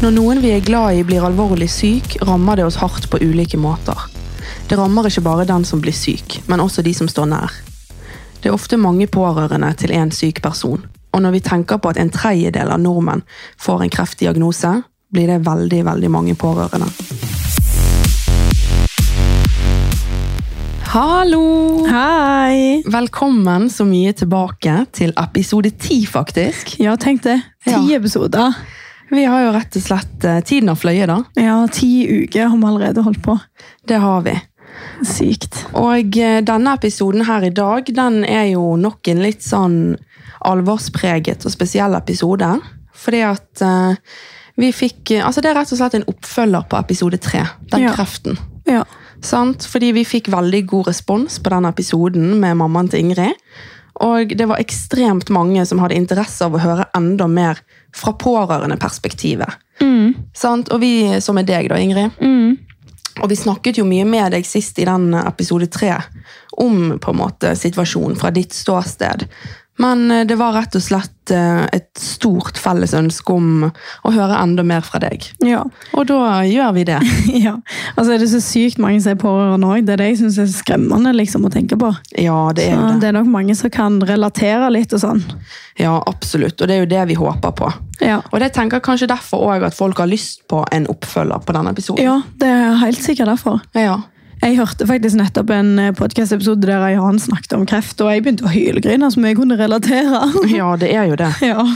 Når noen vi er glad i blir alvorlig syk, rammer det oss hardt på ulike måter. Det rammer ikke bare den som blir syk, men også de som står nær. Det er ofte mange pårørende til en syk person, og når vi tenker på at en tredjedel av nordmenn får en kreftdiagnose, blir det veldig, veldig mange pårørende. Hallo! Hei! Velkommen så mye tilbake til episode 10, faktisk. Ja, tenk det. Ti Ja. episoder. Vi har jo rett og slett eh, tiden har fløyet, da. Ja, ti uker har vi allerede holdt på. Det har vi. Sykt. Og eh, denne episoden her i dag, den er jo nok en litt sånn alvorspreget og spesiell episode. Fordi at eh, vi fikk eh, Altså, det er rett og slett en oppfølger på episode tre, den Ja. kreften. Ja. Sant? Fordi vi fikk veldig god respons på den episoden med mammaen til Ingrid. Og det var ekstremt mange som hadde interesse av å høre enda mer fra pårørendeperspektivet. Sant? Og vi, som er deg da, Ingrid. Og vi snakket jo mye med deg sist i den episode tre om på en måte situasjonen fra ditt ståsted. Men eh, det var rett og slett eh, et stort felles ønske om å høre enda mer fra deg. Ja. Og da gjør vi det. ja. Altså, er det så sykt mange som er pårørende òg? Det er det jeg syns er skremmende liksom, å tenke på. Ja, det er jo Ja, det. det er nok mange som kan relatere litt og sånn. Ja, absolutt. Og det er jo det vi håper på. Ja. Og det tenker jeg kanskje derfor også at folk har lyst på en oppfølger på denne episoden. ja, det er helt sikkert derfor. Ja. Jeg hørte faktisk nettopp en podkast-episode der Jan snakket om kreft, og jeg begynte å hylgrine som jeg kunne relatere. Ja, det er jo det. ja.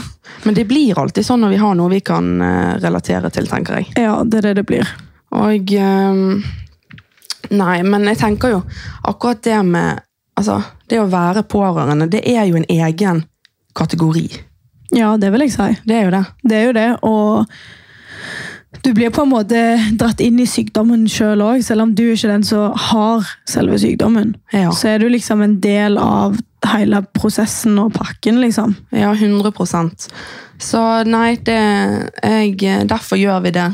Men det blir alltid sånn når vi har noe vi kan eh, relatere til, tenker jeg. ja, det er det det blir. Og ehm, Nei, men jeg tenker jo akkurat det med Altså, det å være pårørende, det er jo en egen kategori. Ja, det vil jeg si. Det er jo det. Det er jo det, og du blir på en måte dratt inn i sykdommen sjøl òg, selv om du ikke er den som har selve sykdommen. Ja, Så er du liksom en del av hele prosessen og pakken, liksom. ja 100 Så nei, det jeg, Derfor gjør vi det.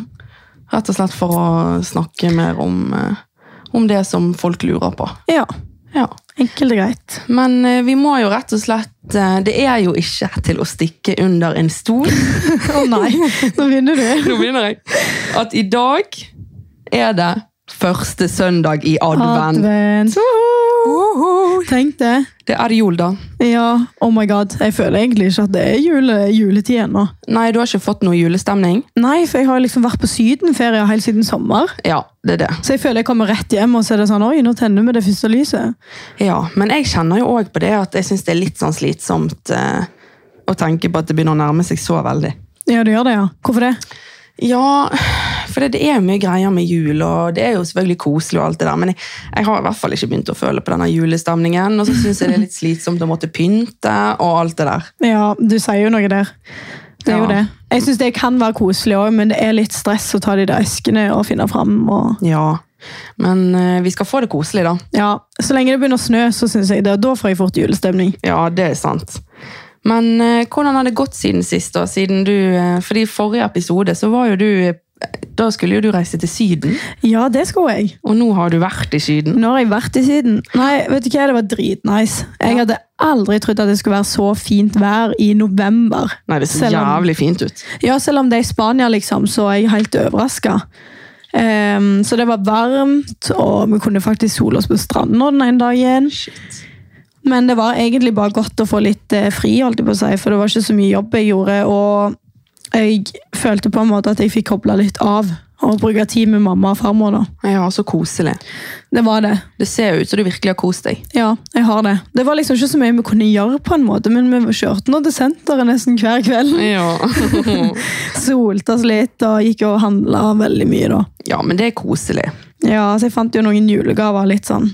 Rett og slett for å snakke mer om, eh, om det som folk lurer på. Ja. Ja. Enkelt og greit. Men eh, vi må jo rett og slett eh, Det er jo ikke til å stikke under en stol. Å nei, Nå begynner du. nå begynner jeg. At i dag er det første søndag i advent. Advent. Woho! Tenk det. Det er jul, da. Ja, oh my god. Jeg føler egentlig ikke at det er jule, juletid ennå. Nei, du har ikke fått noe julestemning? Nei, for jeg har liksom vært på sydenferie helt siden sommer. Ja, det er det. Så jeg føler jeg kommer rett hjem, og så er det sånn Oi, nå tenner vi det første lyset. Ja, Men jeg kjenner jo òg på det at jeg syns det er litt sånn slitsomt eh, å tenke på at det begynner å nærme seg så veldig. Ja, det gjør det, ja. Hvorfor det? Ja, for det, det er jo mye greier med jul, og det er jo selvfølgelig koselig, og alt det der, men jeg, jeg har i hvert fall ikke begynt å føle på denne julestemningen. Og så syns jeg det er litt slitsomt å måtte pynte og alt det der. Ja, du sier jo noe der. Det er jo Ja. det. Jeg syns det kan være koselig òg, men det er litt stress å ta de der eskene og finne fram. Og Ja, Men eh, vi skal få det koselig, da. ja, så lenge det begynner å snø, så synes jeg det. Da får jeg fort julestemning. Ja, det er sant. Men eh, hvordan har det gått siden sist? da? Siden du, eh, fordi I forrige episode så var jo du eh, Da skulle jo du reise til Syden, Ja, det skulle jeg. og nå har du vært i Syden. Nå har jeg vært i Syden. Nei, vet du hva, det var dritnice. Jeg Ja. hadde aldri trodd at det skulle være så fint vær i november. Nei, det ser Selv om- jævlig fint ut. Ja, selv om det er i Spania, liksom, så er jeg helt overraska. så det var varmt, og vi kunne faktisk sole oss på stranda den ene dagen. Men det var egentlig bare godt å få litt eh, fri, holdt jeg på å si, for det var ikke så mye jobb jeg gjorde. Og jeg følte på en måte at jeg fikk kobla litt av og bruke tid med mamma og farmor. da. Ja, så koselig. Det var det. Det ser jo ut som du virkelig har kost deg. Ja, jeg har det. Det var liksom ikke så mye vi kunne gjøre, på en måte, men vi kjørte nå til senteret nesten hver kveld. Ja. Solte oss litt og gikk og handla veldig mye, da. Ja, men det er koselig. Ja, så jeg fant jo noen julegaver litt sånn.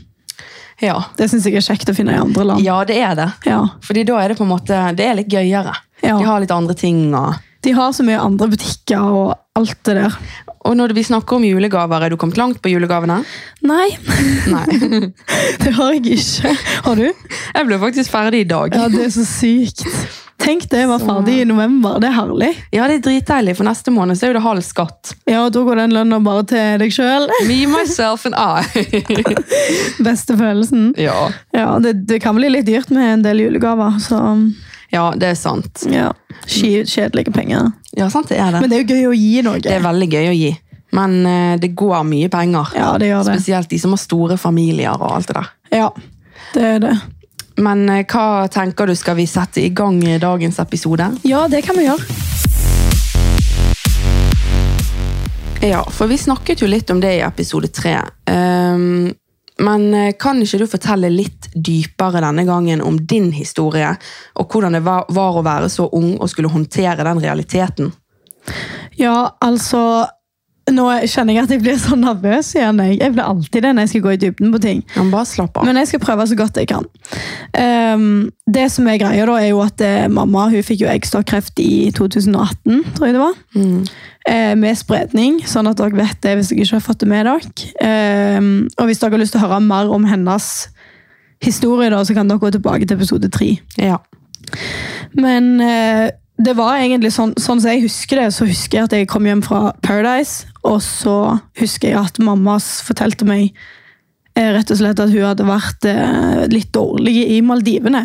Ja, Det syns jeg er kjekt å finne i andre land. ja det er det. Ja. Fordi da er det på en måte, det er litt gøyere. Ja. De har litt andre ting. Og, De har så mye andre butikker og alt det der. og når vi snakker om julegaver, er du kommet langt på julegavene? Nei, Nei. det har jeg ikke. Har du? Jeg ble faktisk ferdig i dag. Ja, det er så sykt. Tenk det, jeg var ferdig i november. Det er herlig. Ja, det er dritdeilig, for neste måned så er jo det halv skatt. Ja, og da går den lønna bare til deg sjøl. Me, myself and I. Beste følelsen. ja. Ja, det, det kan bli litt dyrt med en del julegaver, så Ja, det er sant. Ja. Ski- Kjedelige penger. Ja, sant det er det. Men det er jo gøy å gi noe. Det er veldig gøy å gi. Men eh, det går mye penger. ja, det gjør det. Spesielt de som har store familier og alt det der. Ja, det er det. Men eh, hva tenker du skal vi sette i gang i dagens episode? Ja, det kan vi gjøre. Ja, for vi snakket jo litt om det i episode tre. Ehm, men eh, kan ikke du fortelle litt dypere denne gangen om din historie, og hvordan det var, var å være så ung og skulle håndtere den realiteten? Ja, altså Nå kjenner jeg at jeg blir så nervøs igjen. Jeg, jeg blir alltid det når jeg skal gå i dybden på ting. Ja, men bare slapp av. Men jeg skal prøve så godt jeg kan. Ehm, det som er greia, da, er jo at eh, mamma hun fikk jo eggstokkreft i 2018, tror jeg det var. Mm. eh, med spredning, sånn at dere vet det hvis dere ikke har fått det med dere. Ehm, og hvis dere har lyst til å høre mer om hennes historie, da, så kan dere gå tilbake til episode tre. Ja. Men eh, det var egentlig sånn, sånn som jeg husker det, så husker jeg at jeg kom hjem fra Paradise, og så husker jeg at mammas fortalte meg eh, rett og slett at hun hadde vært eh, litt dårlig i Maldivene.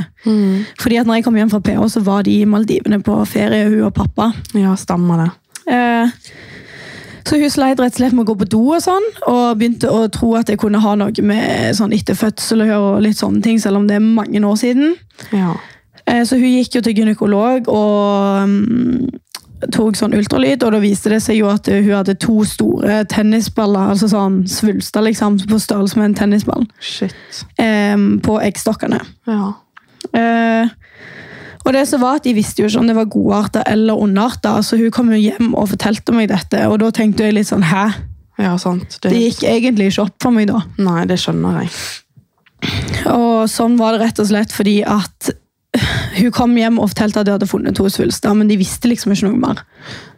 Fordi at når jeg kom hjem fra PH, så var de i Maldivene på ferie, hun og pappa. ja, stemmer det. Eh, Så hun sleit rett og slett med å gå på do og sånn, og begynte å tro at jeg kunne ha noe med sånn etter fødsel å gjøre, og litt sånne ting, selv om det er mange år siden. Ja. Eh, Så hun gikk jo til gynekolog og mm, tok sånn ultralyd, og da viste det seg jo at hun hadde to store tennisballer, altså sånn svulster liksom, på størrelse med en tennisball, Shit. eh, på eggstokkene. Ja. Eh, og det som var at De visste jo ikke om det var godarter eller ondarter. Så hun kom jo hjem og fortalte meg dette, og da tenkte jeg litt sånn Hæ? ja, sant. Det, Det gikk egentlig ikke opp for meg da. Nei, det skjønner jeg. Og sånn var det rett og slett fordi at hun kom hjem og fortalte at de hadde funnet to svulster, men de visste liksom ikke noe mer.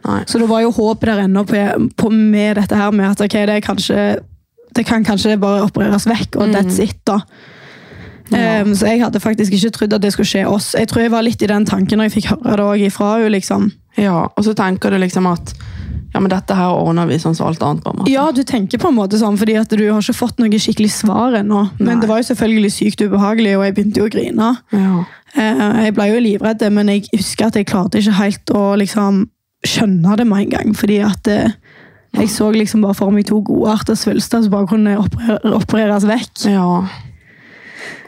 Nei. Så det var jo håp der ennå på, på med dette her med at ok, det, er kanskje, det kan kanskje bare opereres vekk, og that's it, da. Mm. Ja. Ehm, så jeg hadde faktisk ikke trodd at det skulle skje oss. Jeg tror jeg var litt i den tanken når jeg fikk høre det også ifra henne. Liksom. Ja, og så tenker du liksom at ja, men dette her ordner vi sånn som alt annet. på en måte. Ja, du tenker på en måte sånn, fordi at du har ikke fått noe skikkelig svar ennå. Men Nei. det var jo selvfølgelig sykt ubehagelig, og jeg begynte jo å grine. Ja. Eh, Jeg ble jo livredd, men jeg husker at jeg klarte ikke helt å liksom skjønne det med en gang. Fordi at eh, jeg så liksom bare for meg to godartede svulster som bare kunne operer- opereres vekk. Ja.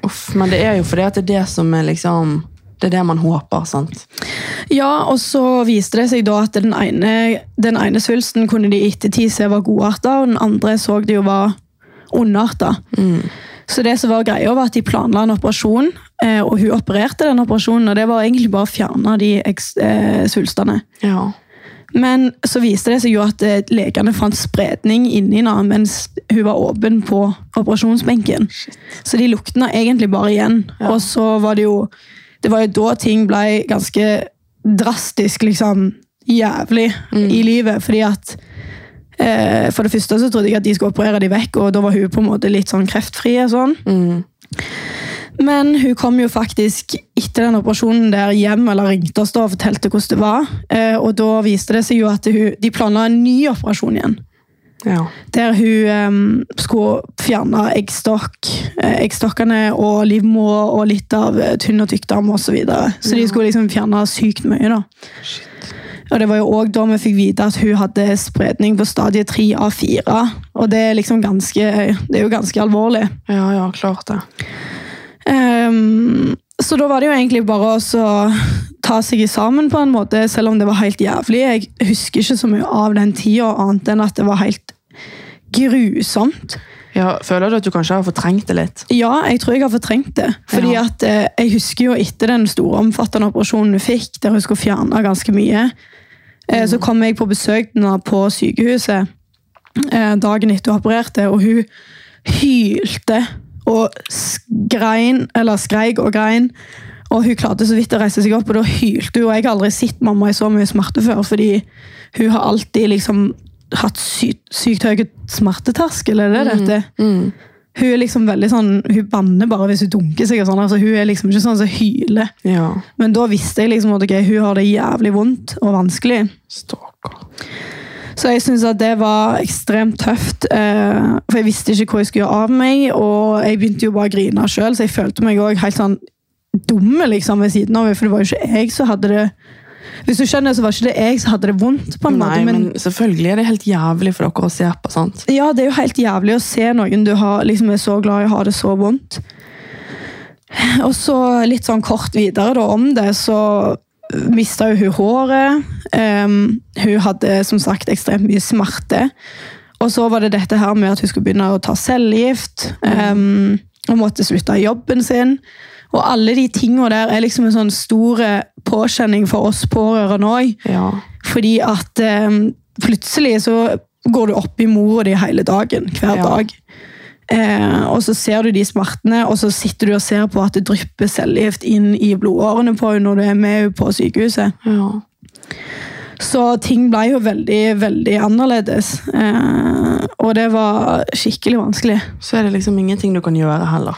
Uff, men det er jo fordi at det er det som er liksom Det er det man håper, sant? Ja, og så viste det seg da at den ene, den ene svulsten kunne de i ettertid se var godarta, og den andre så de jo var ondarta. Så det som var greia var at de planla en operasjon, eh, og hun opererte den operasjonen, og det var egentlig bare å fjerne de eks- eh, svulstene. Ja. Men så viste det seg jo at eh, legene fant spredning inni henne mens hun var åpen på operasjonsbenken. Så de luktene egentlig bare igjen. Ja. Og så var det jo Det var jo da ting ble ganske drastisk, liksom jævlig, i livet. Fordi at eh, For det første så trodde jeg at de skulle operere de vekk, og da var hun på en måte litt sånn kreftfri. og sånn. Mm. Men hun kom jo faktisk etter den operasjonen der hjem eller ringte oss da og fortalte hvordan det var. Eh, Og da viste det seg jo at hun, de planla en ny operasjon igjen. ja. Der hun em, skulle fjerne eggstokk, eh, eggstokkene og livmor og litt av eh, tynn og tykk dam osv. Så, videre. så de skulle liksom fjerne sykt mye. da. Og det var jo òg da vi fikk vite at hun hadde spredning på stadie 3 av 4. Og det er liksom ganske, det er jo ganske alvorlig. Ja, ja, klart det. Ehm, så da var det jo egentlig bare å så ta seg sammen på en måte, selv om det var helt jævlig. Jeg husker ikke så mye av den tida, annet enn at det var helt grusomt. Ja, føler du at du kanskje har fortrengt det litt? Ja, jeg tror jeg har fortrengt det. Fordi Ja. at eh, jeg husker jo etter den store omfattende operasjonen hun fikk, der hun skulle fjerne ganske mye, eh, Mm. så kom jeg på besøk til henne på sykehuset eh, dagen etter hun opererte, og hun hylte og skrein, eller skreik og grein. Og hun klarte så vidt å reise seg opp, og da hylte hun. Og jeg har aldri sett mamma i så mye smerte før, fordi hun har alltid liksom hatt sykt, sykt høy smerteterskel, er det det dette? Mm. Hun er liksom veldig sånn, hun banner bare hvis hun dunker seg. og sånn, altså Hun er liksom ikke sånn som hyler. Ja. Men da visste jeg liksom at ok, hun har det jævlig vondt og vanskelig. Stakkar. Så jeg syns at det var ekstremt tøft. Eh, for jeg visste ikke hvor jeg skulle gjøre av meg, og jeg begynte jo bare å grine sjøl, så jeg følte meg òg helt sånn dumme liksom ved siden av meg, for det var jo ikke jeg som hadde det Hvis du skjønner, så var ikke det jeg som hadde det vondt, på en Nei, måte, men, men selvfølgelig er det helt jævlig for dere å se på, sant? ja, det er jo helt jævlig å se noen du har, liksom er så glad i, ha det så vondt. Og så litt sånn kort videre da, om det, så mista jo hun håret. Ehm, hun hadde som sagt ekstremt mye smerte. Og så var det dette her med at hun skulle begynne å ta cellegift. ehm, og måtte slutte i jobben sin. Og alle de tingene der er liksom en sånn stor eh, påkjenning for oss pårørende òg. Ja. Fordi at eh, plutselig så går du opp i mora di hele dagen, hver Ja. dag. Eh, og så ser du de smertene, og så sitter du og ser på at det drypper cellegift inn i blodårene på henne når du er med henne på sykehuset. ja. Så ting ble jo veldig, veldig annerledes. Eh, og det var skikkelig vanskelig. Så er det liksom ingenting du kan gjøre heller.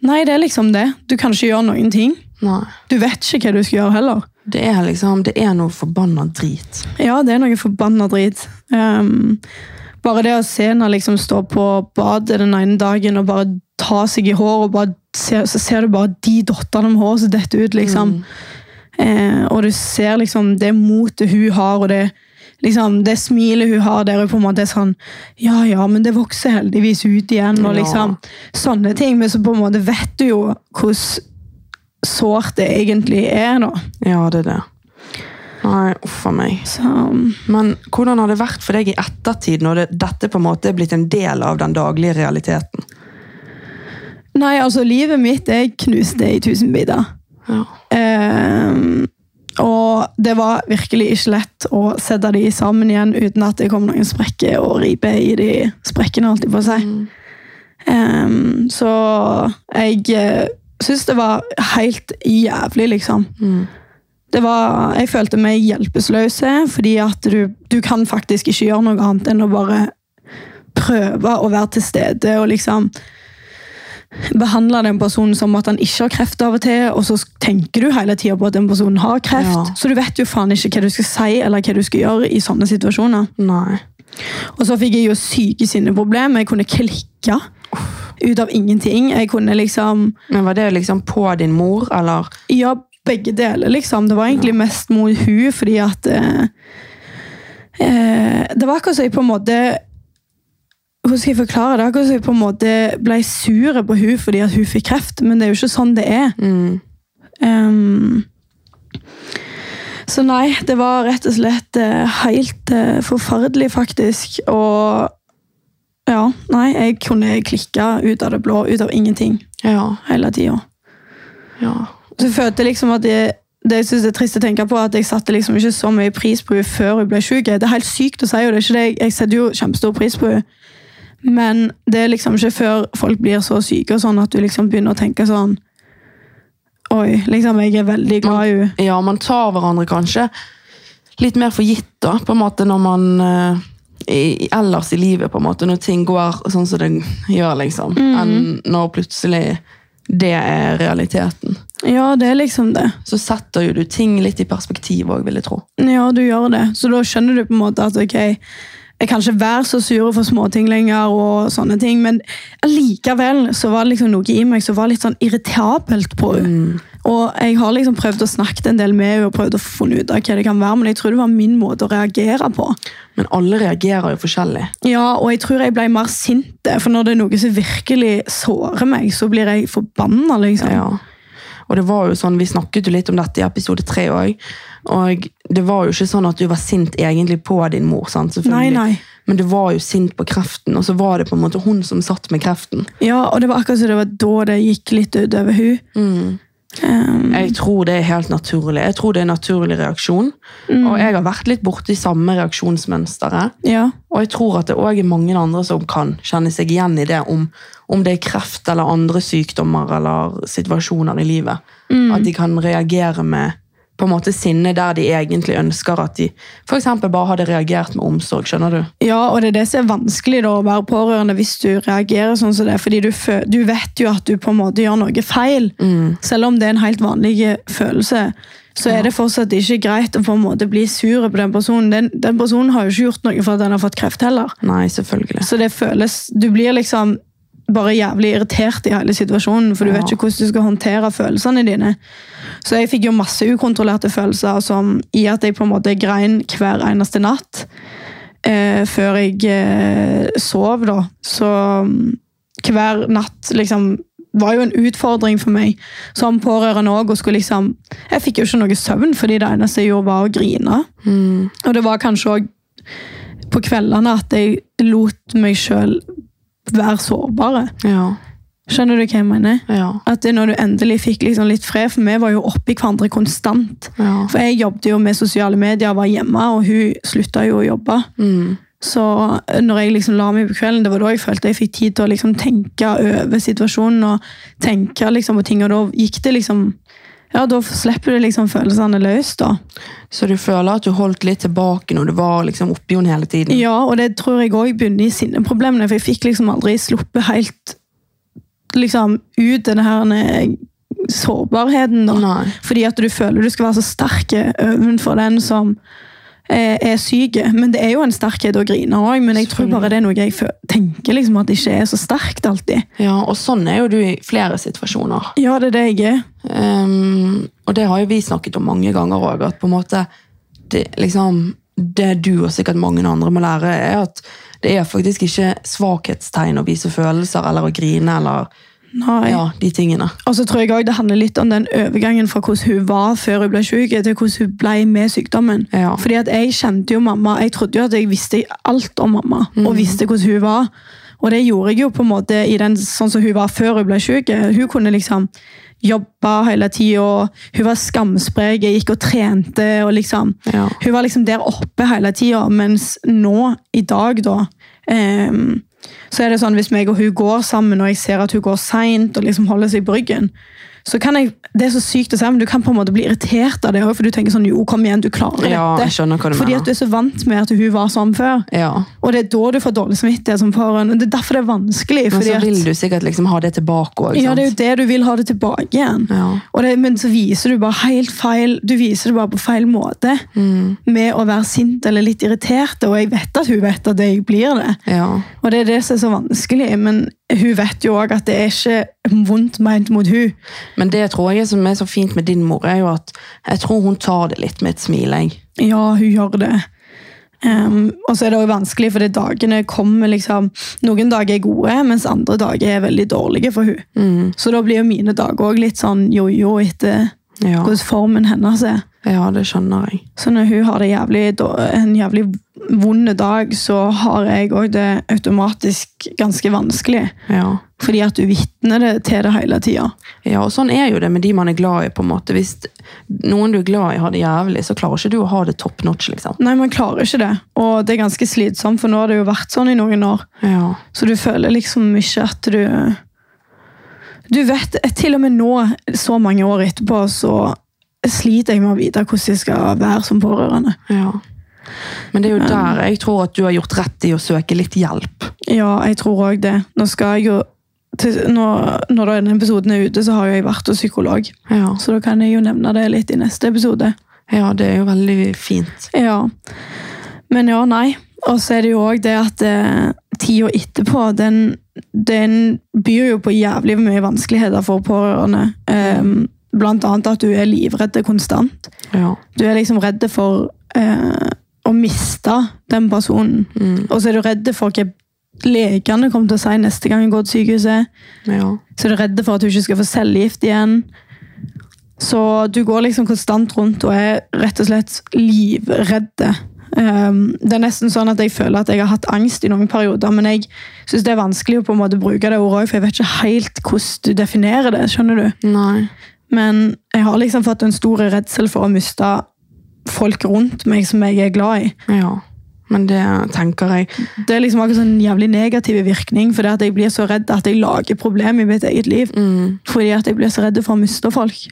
Nei, det er liksom det. Du kan ikke gjøre noen ting. Nei. Du vet ikke hva du skal gjøre heller. Det er liksom, det er noe forbanna drit. Ja, det er noe forbanna drit. Ehm, bare det å se henne liksom stå på badet den ene dagen og bare ta seg i håret, og bare se, så ser du bare de dottene om håret som detter ut, liksom. Eh, og du ser liksom det motet hun har, og det liksom, det smilet hun har der hun på en måte er sånn Ja, ja, men det vokser heldigvis ut igjen, og Ja. liksom sånne ting. Men så på en måte vet du jo hvordan sårt det egentlig er, da. Ja, det er det. Nei, uff a meg. Så um, Men hvordan har det vært for deg i ettertid, når det, dette på en måte er blitt en del av den daglige realiteten? Nei, altså, livet mitt er knust i tusen biter. Ja. Ehm, og det var virkelig ikke lett å sette de sammen igjen uten at det kom noen sprekker og riper i de sprekkene, holdt jeg på å si. Ehm, så jeg uh, syns det var helt jævlig, liksom. Mm. Det var, jeg følte meg hjelpeløse, fordi at du, du kan faktisk ikke gjøre noe annet enn å bare prøve å være til stede og liksom behandle den personen som at han ikke har kreft av og til, og så tenker du hele tida på at den personen har kreft, Ja. så du vet jo faen ikke hva du skal si eller hva du skal gjøre i sånne situasjoner. Nei. Og så fikk jeg jo syke sinneproblemer. Jeg kunne klikke ut av ingenting. Jeg kunne liksom Men var det liksom på din mor, eller? Ja, begge deler, liksom. Det var egentlig mest mot hun, fordi at eh, eh, Det var akkurat som jeg på en måte Hvordan skal jeg forklare det? Akkurat som jeg på en måte ble sur på hun fordi at hun fikk kreft, men det er jo ikke sånn det er. Mm. Ehm, så nei, det var rett og slett eh, helt eh, forferdelig, faktisk. Og ja, nei, jeg kunne klikke ut av det blå, ut av ingenting, Ja, hele tida. ja. Så jeg følte liksom at jeg, det jeg synes det er trist å tenke på, at jeg satte liksom ikke så mye pris på henne før hun ble syk. Det er helt sykt å si, og det er ikke det. Jeg- Jeg setter jo kjempestor pris på henne. Men det er liksom ikke før folk blir så syke og sånn at du liksom begynner å tenke sånn Oi, liksom, jeg er veldig glad i henne. Ja, man tar hverandre kanskje litt mer for gitt, da, på en måte, når man eh, i, i- Ellers i livet, på en måte, når ting går sånn som det gjør, liksom. Enn når plutselig det er realiteten. Ja, det er liksom det. Så setter jo du ting litt i perspektiv òg, vil jeg tro. Ja, du gjør det. Så da skjønner du på en måte at ok, jeg kan ikke være så sur for småting lenger, og sånne ting, men likevel så var det liksom noe i meg som var litt sånn irritabelt på henne. Mm. Og jeg har liksom prøvd å snakke en del med henne og prøvd å finne ut av hva det kan være, men jeg tror det var min måte å reagere på. Men alle reagerer jo forskjellig. Ja, og jeg tror jeg ble mer sint, for når det er noe som virkelig sårer meg, så blir jeg forbanna, liksom. Ja. Og det var jo sånn, Vi snakket jo litt om dette i episode tre òg. Og det var jo ikke sånn at du var sint egentlig på din mor. sant? Nei, Selvfølgelig. nei. Men du var jo sint på kreften, og så var det på en måte hun som satt med kreften. Ja, og det var akkurat som det var da det gikk litt utover hun. Um, Jeg tror det er helt naturlig. Jeg tror det er en naturlig reaksjon. Mm. Og jeg har vært litt borti samme reaksjonsmønsteret. ja. Og jeg tror at det òg er mange andre som kan kjenne seg igjen i det, om, om det er kreft eller andre sykdommer eller situasjoner i livet. At de kan reagere med på en måte sinne der de egentlig ønsker at de f.eks. bare hadde reagert med omsorg. skjønner du? Ja, og det er det som er vanskelig da, å være pårørende hvis du reagerer sånn som det. Fordi du, fø- du vet jo at du på en måte gjør noe feil. Selv om det er en helt vanlig eh, følelse, så er det fortsatt ikke greit å på en måte bli sur på den personen. Den, den personen har jo ikke gjort noe for at den har fått kreft heller. Nei, selvfølgelig. Så det føles Du blir liksom bare jævlig irritert i hele situasjonen, for du Ja. vet ikke hvordan du skal håndtere følelsene dine. Så jeg fikk jo masse ukontrollerte følelser som i at jeg på en måte grein hver eneste natt eh, før jeg eh, sov, da. Så mm, hver natt liksom var jo en utfordring for meg som pårørende òg. Liksom, jeg fikk jo ikke noe søvn, fordi det eneste jeg gjorde, var å grine. Og det var kanskje òg på kveldene at jeg lot meg sjøl være sårbare. Ja. Skjønner du hva jeg mener? Ja. At det når du endelig fikk liksom litt fred, for vi var jo oppi hverandre konstant. ja. For jeg jobbet jo med sosiale medier, var hjemme, og hun slutta jo å jobbe. Mm. Så når jeg liksom la meg på kvelden, det var da jeg følte jeg fikk tid til å liksom tenke over situasjonen og tenke liksom på ting, og da gikk det liksom Ja, da slipper du liksom følelsene løs, da. Så du føler at du holdt litt tilbake når du var liksom oppi henne hele tiden? Ja, og det tror jeg òg bunner i sinneproblemene, for jeg fikk liksom aldri sluppet helt liksom ut den her eh, sårbarheten, da. Nei. Fordi at du føler du skal være så sterk overfor den som eh, er syk. Men det er jo en sterkhet å grine òg, men jeg tror bare det er noe jeg fø- tenker liksom at det ikke er så sterkt alltid. Ja, og sånn er jo du i flere situasjoner. Ja, det er det jeg er. Ehm, og det har jo vi snakket om mange ganger òg, at på en måte det, liksom, det du og sikkert mange andre må lære, er at det er faktisk ikke svakhetstegn å vise følelser eller å grine eller Nei. ja, de tingene. Og så tror jeg også det handler litt om den overgangen fra hvordan hun var før hun ble syk, til hvordan hun ble med sykdommen. Ja. Fordi at jeg kjente jo mamma, jeg trodde jo at jeg visste alt om mamma, og visste hvordan hun var. Og det gjorde jeg jo på en måte i den sånn som hun var før hun ble syk. Hun kunne liksom jobbe hele tida, og hun var skamsprek, jeg gikk og trente, og liksom Ja. Hun var liksom der oppe hele tida, mens nå, i dag, da ehm, så er det sånn, Hvis meg og hun går sammen, og jeg ser at hun går seint og liksom holder seg på ryggen, så kan jeg, det er så sykt å si, men du kan på en måte bli irritert av det òg, for du tenker sånn Jo, kom igjen, du klarer Ja, dette. jeg skjønner hva du Fordi mener. at du er så vant med at hun var sånn før. Ja. Og det er da du får dårlig samvittighet som pårørende. Det er derfor det er vanskelig. Men Fordi så vil at, du sikkert liksom ha det tilbake òg. ja, det er jo det du vil ha det tilbake igjen. Ja. Og det, men så viser du bare helt feil Du viser det bare på feil måte. Mm. Med å være sint eller litt irritert. Og jeg vet at hun vet at jeg blir det. Ja. Og det er det som er så vanskelig. Men hun vet jo òg at det er ikke vondt ment mot hun. Men det tror jeg som er så fint med din mor, er jo at jeg tror hun tar det litt med et smil. Jeg. Ja, hun gjør det. Ehm, og så er det også vanskelig, fordi dagene kommer liksom Noen dager er gode, mens andre dager er veldig dårlige for hun. Så da blir jo mine dager òg litt sånn jojo etter Ja. hvordan formen hennes er. ja, det skjønner jeg. Så når hun har det jævlig, da- en jævlig vond dag, så har jeg òg det automatisk ganske vanskelig. Ja. Fordi at du vitner det til det hele tida. Ja, og sånn er jo det med de man er glad i, på en måte. Hvis noen du er glad i har det jævlig, så klarer ikke du å ha det top notch, liksom. Nei, man klarer ikke det. Og det er ganske slitsomt, for nå har det jo vært sånn i noen år. Ja. Så du føler liksom ikke at du Du vet, til og med nå, så mange år etterpå, så sliter jeg med å vite hvordan jeg skal være som pårørende. ja. Men det er jo der jeg tror at du har gjort rett i å søke litt hjelp. Ja, jeg tror òg det. Nå skal jeg jo til, når, når denne episoden er ute, så har jo jeg vært hos psykolog. Ja. Så da kan jeg jo nevne det litt i neste episode. ja, det er jo veldig fint. Ja. Men ja, nei. Og så er det jo òg det at eh, tida etterpå, den, den byr jo på jævlig mye vanskeligheter for pårørende. Ehm, blant annet at du er livredd konstant. Ja. Du er liksom redd for eh, å miste den personen. Og så er du redd for hva legene kommer til å si neste gang jeg går til sykehuset. ja. Så er du redd for at hun ikke skal få cellegift igjen. Så du går liksom konstant rundt og er rett og slett livredde. Um, det er nesten sånn at jeg føler at jeg har hatt angst i noen perioder, men jeg syns det er vanskelig å på en måte bruke det ordet òg, for jeg vet ikke helt hvordan du definerer det. skjønner du? Nei. Men jeg har liksom fått en stor redsel for å miste folk rundt meg som jeg er glad i. Ja. Men det tenker jeg. Det er liksom akkurat sånn en jævlig negativ virkning, for det at jeg blir så redd at jeg lager problemer i mitt eget liv. Fordi at jeg blir så redd for å miste folk.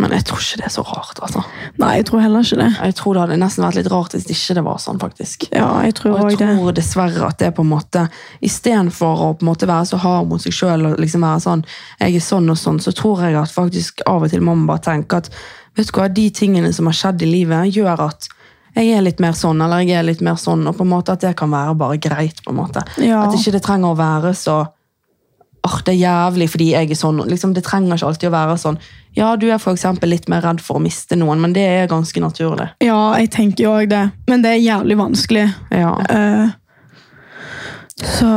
Men jeg tror ikke det er så rart, altså. Nei, jeg tror heller ikke det. Jeg tror det hadde nesten vært litt rart hvis ikke det var sånn, faktisk. Ja, jeg tror Og også jeg det. tror dessverre at det er på en måte Istedenfor å på en måte være så hard mot seg sjøl og liksom være sånn jeg er sånn og sånn, så tror jeg at faktisk av og til må man bare tenke at vet du hva, de tingene som har skjedd i livet, gjør at jeg er litt mer sånn, eller jeg er litt mer sånn, og på en måte at det kan være bare greit. på en måte. Ja. At ikke det trenger å være så åh, det er jævlig fordi jeg er sånn. Liksom, det trenger ikke alltid å være sånn. Ja, du er for eksempel litt mer redd for å miste noen, men det er ganske naturlig. Ja, jeg tenker jo òg det. Men det er jævlig vanskelig. Ja. Eh, så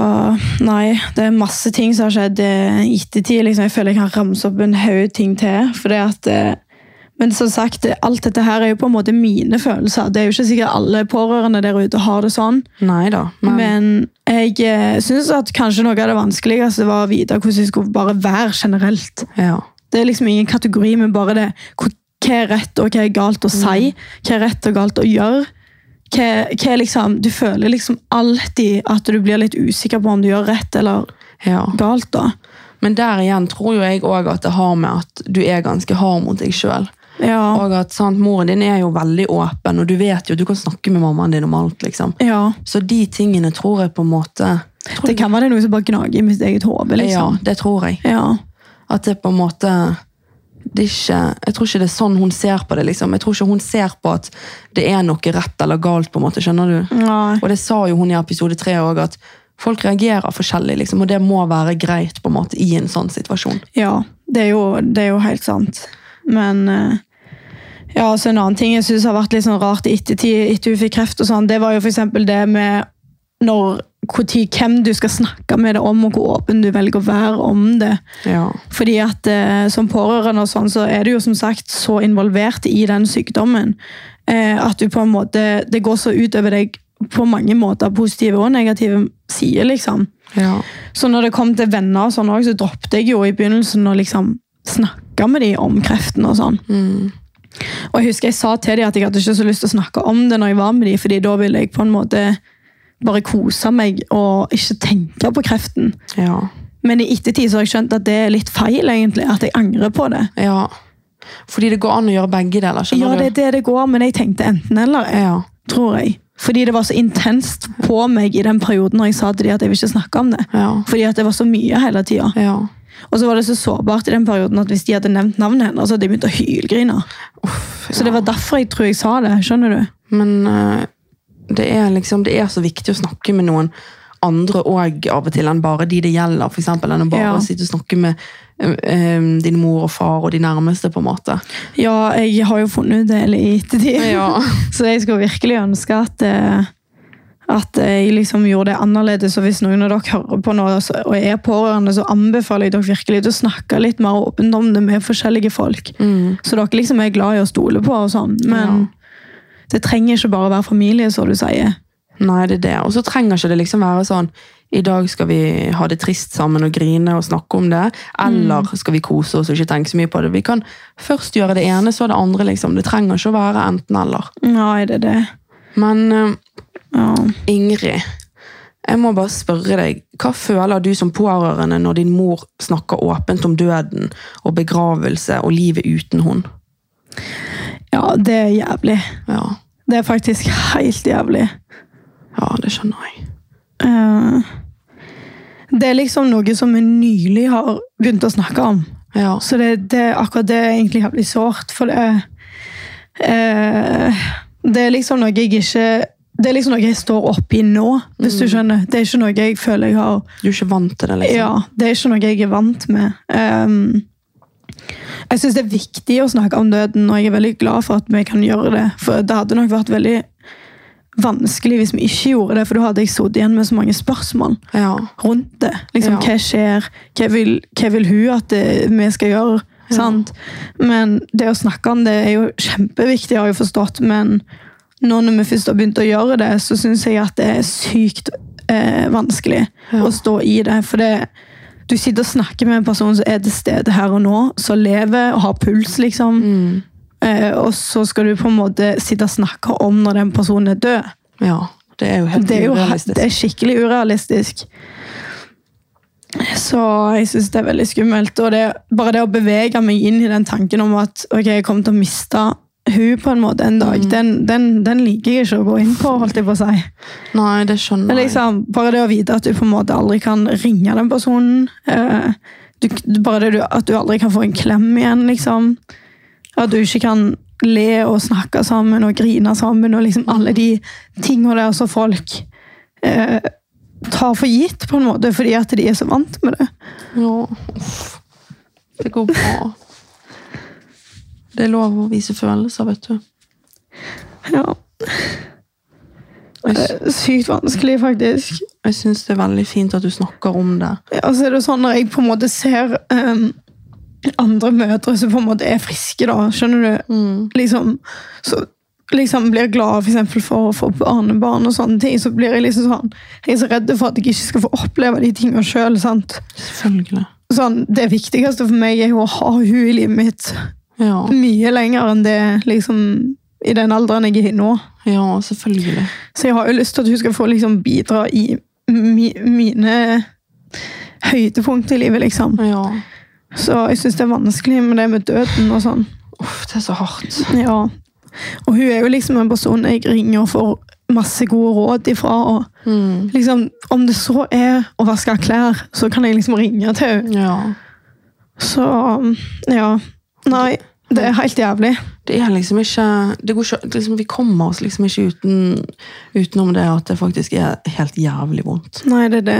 nei, det er masse ting som har skjedd eh, i ettertid. Liksom. Jeg føler jeg kan ramse opp en haug ting til. Fordi at, eh, men som sagt, det- alt dette her er jo på en måte mine følelser. Det er jo ikke sikkert alle pårørende der ute har det sånn. Nei da, men, Men jeg eh, syns at kanskje noe av det vanskeligste var å vite hvordan jeg skulle bare være generelt. ja. Det er liksom ingen kategori, men bare det. Hva hva er rett og hva er galt å si? Hva er rett og galt å gjøre? Hva, hva er liksom, du føler liksom alltid at du blir litt usikker på om du gjør rett eller ja. galt. da. Men der igjen tror jo jeg òg at det har med at du er ganske hard mot deg sjøl. Ja, Og at sant, moren din er jo veldig åpen, og du vet jo, du kan snakke med mammaen din om alt. liksom. ja. Så de tingene tror jeg på en måte tror Det kan være det er noe som bare gnager i mitt eget hode. Ja, Liksom. det tror jeg. Ja. At det på en måte det er ikke, Jeg tror ikke det er sånn hun ser på det. liksom. Jeg tror ikke hun ser på at det er noe rett eller galt. på en måte, skjønner du? Nei. Og det sa jo hun i episode tre òg, at folk reagerer forskjellig. liksom, Og det må være greit på en måte i en sånn situasjon. Ja, det er jo, det er jo helt sant. Men eh, ja, så en annen ting jeg syns har vært litt sånn rart i ettertid, etter hun fikk kreft, og sånn, det var jo f.eks. det med når, hvor tid, hvem du skal snakke med det om, og hvor åpen du velger å være om det. Ja, Fordi at eh, som pårørende og sånn, så er du jo som sagt så involvert i den sykdommen eh, at du på en måte Det går så ut over deg på mange måter, positive og negative sider, liksom. ja. Så når det kom til venner og sånn også, så droppet jeg jo i begynnelsen å liksom snakke med dem om kreften og sånn. Mm. Og jeg husker jeg sa til dem at jeg hadde ikke så lyst til å snakke om det når jeg var med dem, fordi da ville jeg på en måte bare kose meg og ikke tenke på kreften. Ja. Men i ettertid så har jeg skjønt at det er litt feil, egentlig. At jeg angrer på det. ja. Fordi det går an å gjøre begge deler, Ja, skjønner det er det det går, men jeg tenkte enten eller, eh, du? Ja. tror jeg. Fordi det var så intenst på meg i den perioden når jeg sa til dem at jeg vil ikke snakke om det. Ja. Fordi at det var så mye hele tida. ja. Og så var det så sårbart i den perioden at hvis de hadde nevnt navnet hennes, så hadde jeg begynt å hylgrine. Uff, Så det var derfor jeg tror jeg sa det. skjønner du? Men eh, det er liksom det er så viktig å snakke med noen andre òg av og til enn bare de det gjelder. For eksempel, enn å bare Ja. å sitte og snakke med eh, eh, din mor og far og de nærmeste, på en måte. Ja, jeg har jo funnet ut det i ettertid. Ja. Så jeg skulle virkelig ønske at, eh, at jeg liksom gjorde det annerledes. Og hvis noen av dere hører på nå så- og er pårørende, så anbefaler jeg dere virkelig til å snakke litt mer åpent om det med forskjellige folk. Så dere liksom er glad i å stole på og sånn. Men det trenger ikke bare være familie, som du sier. Nei, det er det. Og så trenger ikke det liksom være sånn i dag skal vi ha det trist sammen og grine og snakke om det. Eller Mm. skal vi kose oss og ikke tenke så mye på det. Vi kan først gjøre det ene, så det andre. liksom. Det trenger ikke å være enten-eller. Nei, det er det. Men eh, Ja. Ingrid, jeg må bare spørre deg. Hva føler du som pårørende når din mor snakker åpent om døden og begravelse og livet uten hund? ja, det er jævlig. Ja, Det er faktisk helt jævlig. ja det skjønner jeg. Eh, det er liksom noe som vi nylig har begynt å snakke om. Ja, Så det, det, akkurat det er egentlig jævlig sårt, for det er eh, Det er liksom noe jeg ikke Det er liksom noe jeg står oppi nå, hvis du skjønner. Det er ikke noe jeg føler jeg har Du er ikke vant til det, liksom? Ja, det er ikke noe jeg er vant med. Ehm, jeg syns det er viktig å snakke om døden, og jeg er veldig glad for at vi kan gjøre det. For det hadde nok vært veldig vanskelig hvis vi ikke gjorde det, for da hadde jeg sittet igjen med så mange spørsmål Ja. rundt det. Ja. Liksom, Hva skjer? Hva vil, hva vil hun at eh, vi skal gjøre? Sant? Men det å snakke om det er jo kjempeviktig, har jeg forstått, men nå når vi først har begynt å gjøre det, så syns jeg at det er sykt eh, vanskelig Ja. å stå i det. For det, du sitter og snakker med en person som er til stede her og nå, som lever og har puls, liksom. Mm. Eh, og så skal du på en måte sitte og snakke om når den personen er død. ja. Det er jo helt Det er jo urealistisk. det er skikkelig urealistisk. Så jeg syns det er veldig skummelt. Og det, bare det å bevege meg inn i den tanken om at ok, jeg kommer til å miste hun på en måte Mm. en dag, den, den, den liker jeg ikke å gå inn på, holdt jeg på å si. Nei, det skjønner Men jeg. liksom, bare det å vite at du på en måte aldri kan ringe den personen. eh, Du, bare det du, at du aldri kan få en klem igjen, liksom. At du ikke kan le og snakke sammen og grine sammen og liksom alle de tingene der som folk eh, tar for gitt, på en måte, fordi at de er så vant med det. Ja. uff. Det går bra. Det er lov å vise følelser, vet du. Ja. Det Jeg, er sykt vanskelig, faktisk. jeg syns det er veldig fint at du snakker om det. Ja, så er det sånn når jeg på en måte ser ehm, andre mødre som på en måte er friske, da, skjønner du? Liksom, så liksom blir glad for, eksempel, for å få barnebarn og sånne ting, så blir jeg liksom sånn Jeg er så redd for at jeg ikke skal få oppleve de tingene sjøl. Selvfølgelig. Sånn, det viktigste for meg er jo å ha hun i livet mitt Ja, mye lenger enn det liksom, i den alderen jeg er i nå. ja selvfølgelig. Så jeg har jo lyst til at hun skal få liksom, bidra i mi, mine høydepunkt i livet, liksom. Ja. Så jeg syns det er vanskelig med det med døden og sånn. Uff, det er så hardt. Ja. Og hun er jo liksom en person jeg ringer og får masse gode råd ifra. Og Mm. liksom, om det så er å vaske klær, så kan jeg liksom ringe til henne. Ja. Så ja. Nei, det er helt jævlig. Det er liksom ikke, det går ikke liksom, Vi kommer oss liksom ikke uten, utenom det at det faktisk er helt jævlig vondt. Nei, det er det.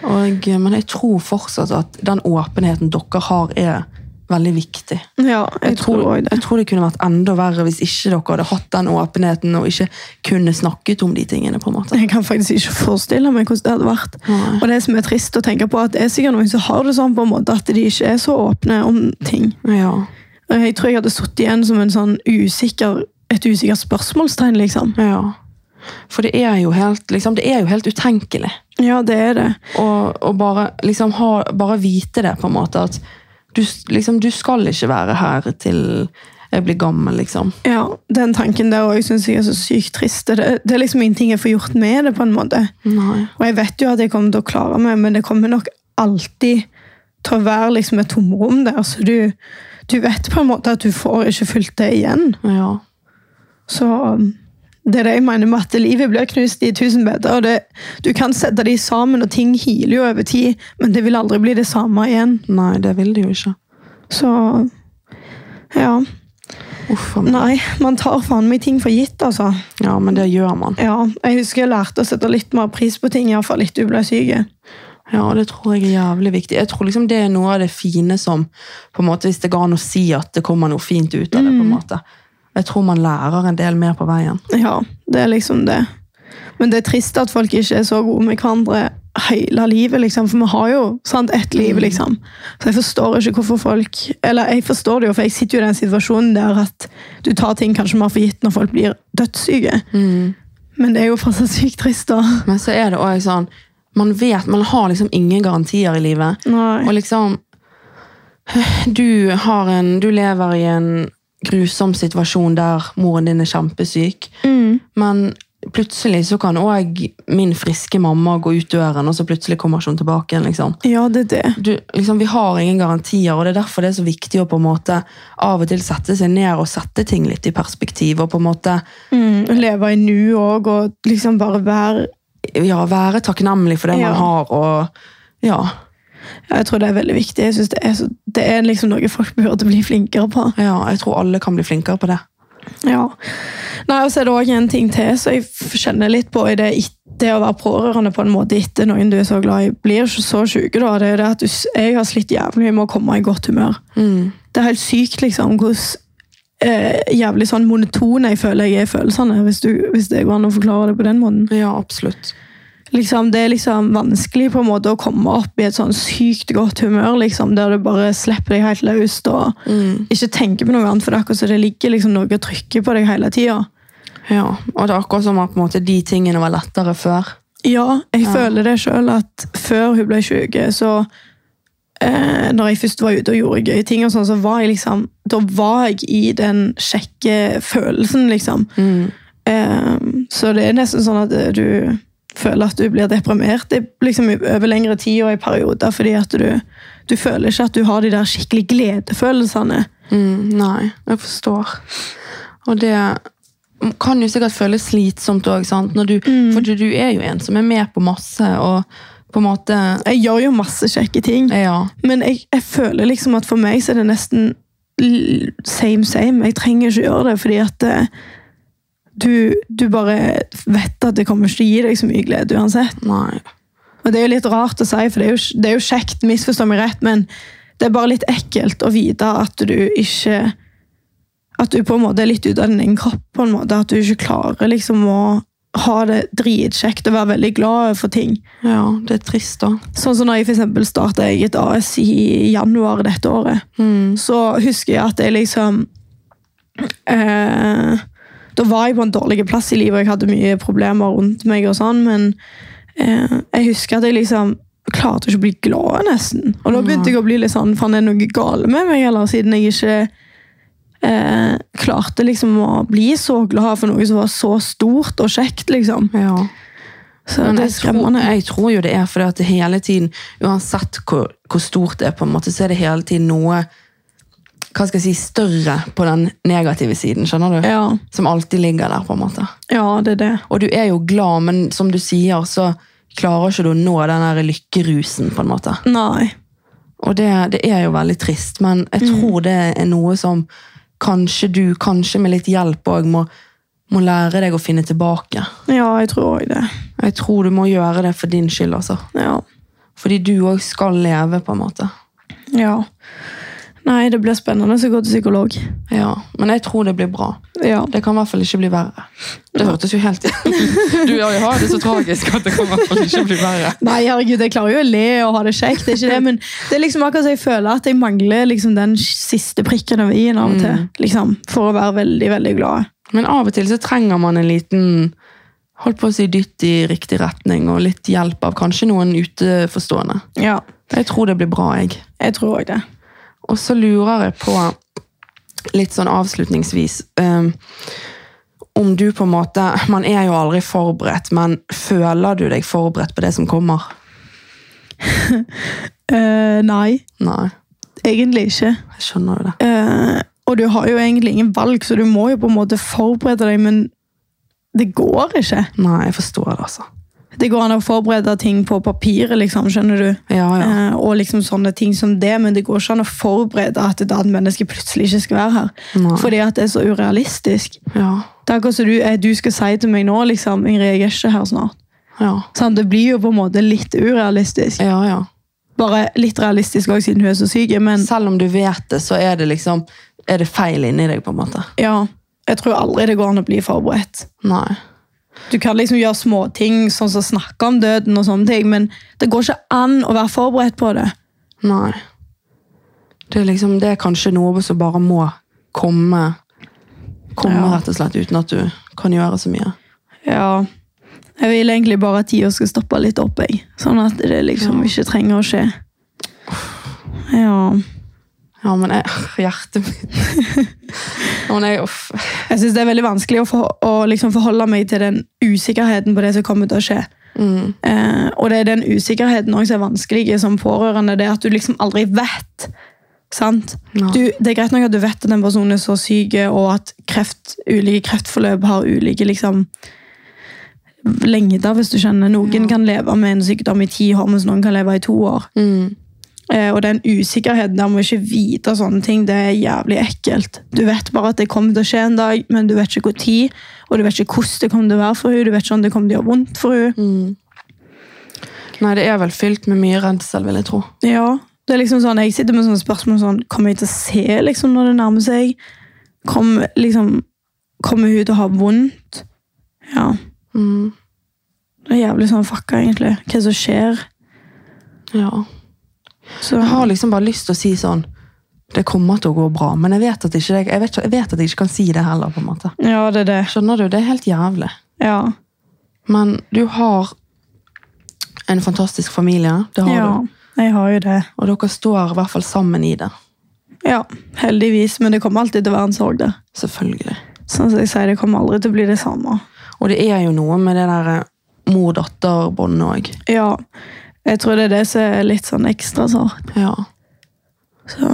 Og, eh, men jeg tror fortsatt at den åpenheten dere har, er veldig viktig. Ja, jeg, tror òg det. jeg tror det kunne vært enda verre hvis ikke dere hadde hatt den åpenheten og ikke kunne snakket om de tingene. på en måte. Jeg kan faktisk ikke forestille meg hvordan det hadde vært. Nei. Og det som er trist å tenke på, at det er sikkert noen som har det sånn på en måte at de ikke er så åpne om ting. Ja, Og Eh, Jeg tror jeg hadde sittet igjen som en sånn usikker, et usikkert spørsmålstegn, liksom. ja. For det er jo helt, liksom, det er jo helt utenkelig Ja, det er det. å å bare, liksom, ha, bare vite det, på en måte. At du, s- liksom, du skal ikke være her til jeg blir gammel, liksom. Ja, Den tanken der òg syns jeg er så sykt trist. Det, det er liksom ingenting jeg får gjort med det, på en måte. Nei. Og jeg vet jo at jeg kommer til å klare meg, men det kommer nok alltid til å være liksom et tomrom der, så du, du vet på en måte at du får ikke fylt det igjen. Ja. Så um, det er det jeg mener med at livet blir knust i tusen biter. Og det, du kan sette de sammen, og ting hiler jo over tid, men det vil aldri bli det samme igjen. Nei, det vil det jo ikke. Så ja. Uff a meg. Nei, man tar faen meg ting for gitt, altså. Ja, men det gjør man. Ja, Jeg husker jeg lærte å sette litt mer pris på ting, iallfall etter hun ble syk. Ja, og det tror jeg er jævlig viktig. Jeg tror liksom det er noe av det fine som på en måte, Hvis det går an å si at det kommer noe fint ut av det. på en måte. Jeg tror man lærer en del mer på veien. Ja, det er liksom det. Men det er trist at folk ikke er så gode med hverandre hele livet, liksom. For vi har jo sant, ett liv, liksom. Så jeg forstår ikke hvorfor folk Eller jeg forstår det jo, for jeg sitter jo i den situasjonen der at du tar ting kanskje mer for gitt når folk blir dødssyke. Men det er jo fortsatt sykt trist, da. Men så er det også sånn Man vet, man har liksom ingen garantier i livet. Og Nei. liksom Du har en Du lever i en grusom situasjon der moren din er kjempesyk, men plutselig så kan òg min friske mamma gå ut døren, og så plutselig kommer ikke hun tilbake igjen. liksom. Ja, det er det. du, liksom, vi har ingen garantier, og det er derfor det er så viktig å på en måte av og til sette seg ned og sette ting litt i perspektiv. Og på en måte Å Mm, leve i nu òg, og liksom bare være ja, være takknemlig for det Ja. man har. og ja, Ja, Jeg tror det er veldig viktig. Jeg synes det, er så, det er liksom noe folk burde bli flinkere på. ja, Jeg tror alle kan bli flinkere på det. Ja. Nei, og så er det også en ting til som jeg f- kjenner litt på i det, et- det å være pårørende på en måte etter noen du er så glad i, blir ikke så syke da. Det er jo det at du, s- jeg har slitt jævlig med å komme i godt humør. Det er helt sykt liksom hvordan eh, jævlig sånn monoton jeg føler jeg er i følelsene, hvis, du, hvis det går an å forklare det på den måten. Ja, absolutt. Liksom, det er liksom vanskelig på en måte å komme opp i et sånn sykt godt humør, liksom, der du bare slipper deg helt løst og ikke tenker på noe annet, for det er akkurat så det ligger liksom noe og trykker på deg hele tiden. Ja, Og det er akkurat som at på en måte, de tingene var lettere før. Ja, jeg føler det sjøl at før hun ble syk, så eh, Når jeg først var ute og gjorde gøye ting, og sånn, så var jeg liksom Da var jeg i den kjekke følelsen, liksom. Eh, så det er nesten sånn at eh, du føler at du blir deprimert i- liksom, i- over lengre tid og i perioder, fordi at du, du føler ikke at du har de der skikkelig gledefølelsene. Mm, nei, jeg forstår. Og det kan jo sikkert føles slitsomt òg, Mm. for du, du er jo en som er med på masse, og på en måte Jeg gjør jo masse kjekke ting. Ja. Men jeg, jeg føler liksom at for meg så er det nesten l- same same. Jeg trenger ikke gjøre det, fordi at eh, du, du bare vet at det kommer ikke til å gi deg så mye glede uansett. Nei. Og det er jo litt rart å si, for det er jo, det er jo kjekt, misforstå meg rett, men det er bare litt ekkelt å vite at du ikke At du på en måte er litt ute av din egen kropp, på en måte. At du ikke klarer liksom å ha det dritkjekt og være veldig glad for ting. Ja, det er trist, da. Sånn som når jeg for eksempel startet eget AS i januar dette året, så husker jeg at jeg liksom eh, Da var jeg på en dårlig plass i livet, og jeg hadde mye problemer rundt meg, og sånn, men eh, jeg husker at jeg liksom klarte ikke å bli glad, nesten. Og da begynte jeg å bli litt sånn Faen, er det noe galt med meg, eller? Siden jeg ikke eh, klarte liksom å bli så glad for noe som var så stort og kjekt, liksom. Ja. Så Men det er jeg tror, skremmende. jeg tror jo det er fordi at det hele tiden, uansett hvor, hvor stort det er, på en måte, så er det hele tiden noe hva skal jeg si, større på den negative siden, skjønner du? Ja, Som alltid ligger der, på en måte. ja, det er det. Og du er jo glad, men som du sier, så klarer ikke du å nå den der lykkerusen, på en måte. Nei. Og det, det er jo veldig trist, men jeg tror det er noe som kanskje du, kanskje med litt hjelp òg, må, må lære deg å finne tilbake. Ja, jeg tror òg det. Jeg tror du må gjøre det for din skyld, altså. Ja. Fordi du òg skal leve, på en måte. ja. Nei, det blir spennende å gå til psykolog. Ja, Men jeg tror det blir bra. Ja. Det kan i hvert fall ikke bli verre. Det hørtes jo helt Du har jo hatt det så tragisk at det kan i hvert fall ikke bli verre. Nei, herregud, jeg klarer jo å le og ha det kjekt, det er ikke det, men det er liksom akkurat så jeg føler at jeg mangler liksom den siste prikken over i-en av og til. Liksom, for å være veldig, veldig glad. Men av og til så trenger man en liten holdt på å si dytt i riktig retning, og litt hjelp av kanskje noen uteforstående. Ja, Jeg tror det blir bra, jeg. jeg tror òg det. Og så lurer jeg på, litt sånn avslutningsvis eh, Om du på en måte Man er jo aldri forberedt, men føler du deg forberedt på det som kommer? Eh, nei, Nei, egentlig ikke. jeg skjønner jo det. Eh, og du har jo egentlig ingen valg, så du må jo på en måte forberede deg, men det går ikke. Nei, jeg forstår det, altså. Det går an å forberede ting på papiret, liksom, skjønner du? Ja, ja. Eh, og liksom sånne ting som det, men det går ikke an å forberede at et annet menneske plutselig ikke skal være her. Nei. Fordi at det er så urealistisk. Ja, Det er akkurat som du, eh, du skal si til meg nå, liksom, Ingrid, jeg er ikke her snart. ja. Sånn, det blir jo på en måte litt urealistisk. ja, ja. Bare litt realistisk også, siden hun er så syk. Men Selv om du vet det, så er det liksom er det feil inni deg, på en måte. ja, jeg tror aldri det går an å bli forberedt. Nei. Du kan liksom gjøre småting, sånn som snakke om døden og sånne ting, men det går ikke an å være forberedt på det. Nei. Det er liksom, det er kanskje noe som bare må komme, komme Ja. rett og slett, uten at du kan gjøre så mye. Ja. Jeg vil egentlig bare at tida skal stoppe litt opp, jeg. Sånn at det liksom Ja. ikke trenger å skje. Ja. Ja, men jeg, hjertet mitt ja, men jeg, uff. Jeg syns det er veldig vanskelig å, for, å liksom forholde meg til den usikkerheten på det som kommer til å skje. Mm, Eh, og det er den usikkerheten også som er vanskelig som pårørende, det er at du liksom aldri vet. Sant? Ja. Du, det er greit nok at du vet at den personen er så syk, og at kreft, ulike kreftforløp har ulike liksom, lengder, hvis du skjønner. Noen kan leve med en sykdom i ti år, mens noen kan leve i to år. mm, Eh, og den usikkerheten der med å ikke vite sånne ting, det er jævlig ekkelt. Du vet bare at det kommer til å skje en dag, men du vet ikke hvor tid, og du vet ikke hvordan det kommer til å være for henne, du vet ikke om det kommer til å gjøre vondt for henne. mm. Nei, det er vel fylt med mye redsel, vil jeg tro. Ja, det er liksom sånn, jeg sitter med sånne spørsmål sånn, kommer jeg til å se liksom når det nærmer seg? Kom, liksom, kommer hun til å ha vondt? Ja, Mm, det er jævlig sånn fucka egentlig. Hva som skjer? ja. Så, Jeg har liksom bare lyst til å si sånn Det kommer til å gå bra, men jeg vet at, ikke, det- jeg vet, ikke- jeg vet at jeg ikke kan si det heller, på en måte. ja, det er det. Skjønner du? Det er helt jævlig. Ja, Men du har en fantastisk familie, det har ja du. jeg har jo det. Og dere står i hvert fall sammen i det. Ja, heldigvis, men det kommer alltid til å være en sorg der. Selvfølgelig. Sånn som jeg sier, det kommer aldri til å bli det samme. Og det er jo noe med det der eh, mor-datter-båndet òg. Ja, jeg tror det er det som er litt sånn ekstra sårt. Ja. Så,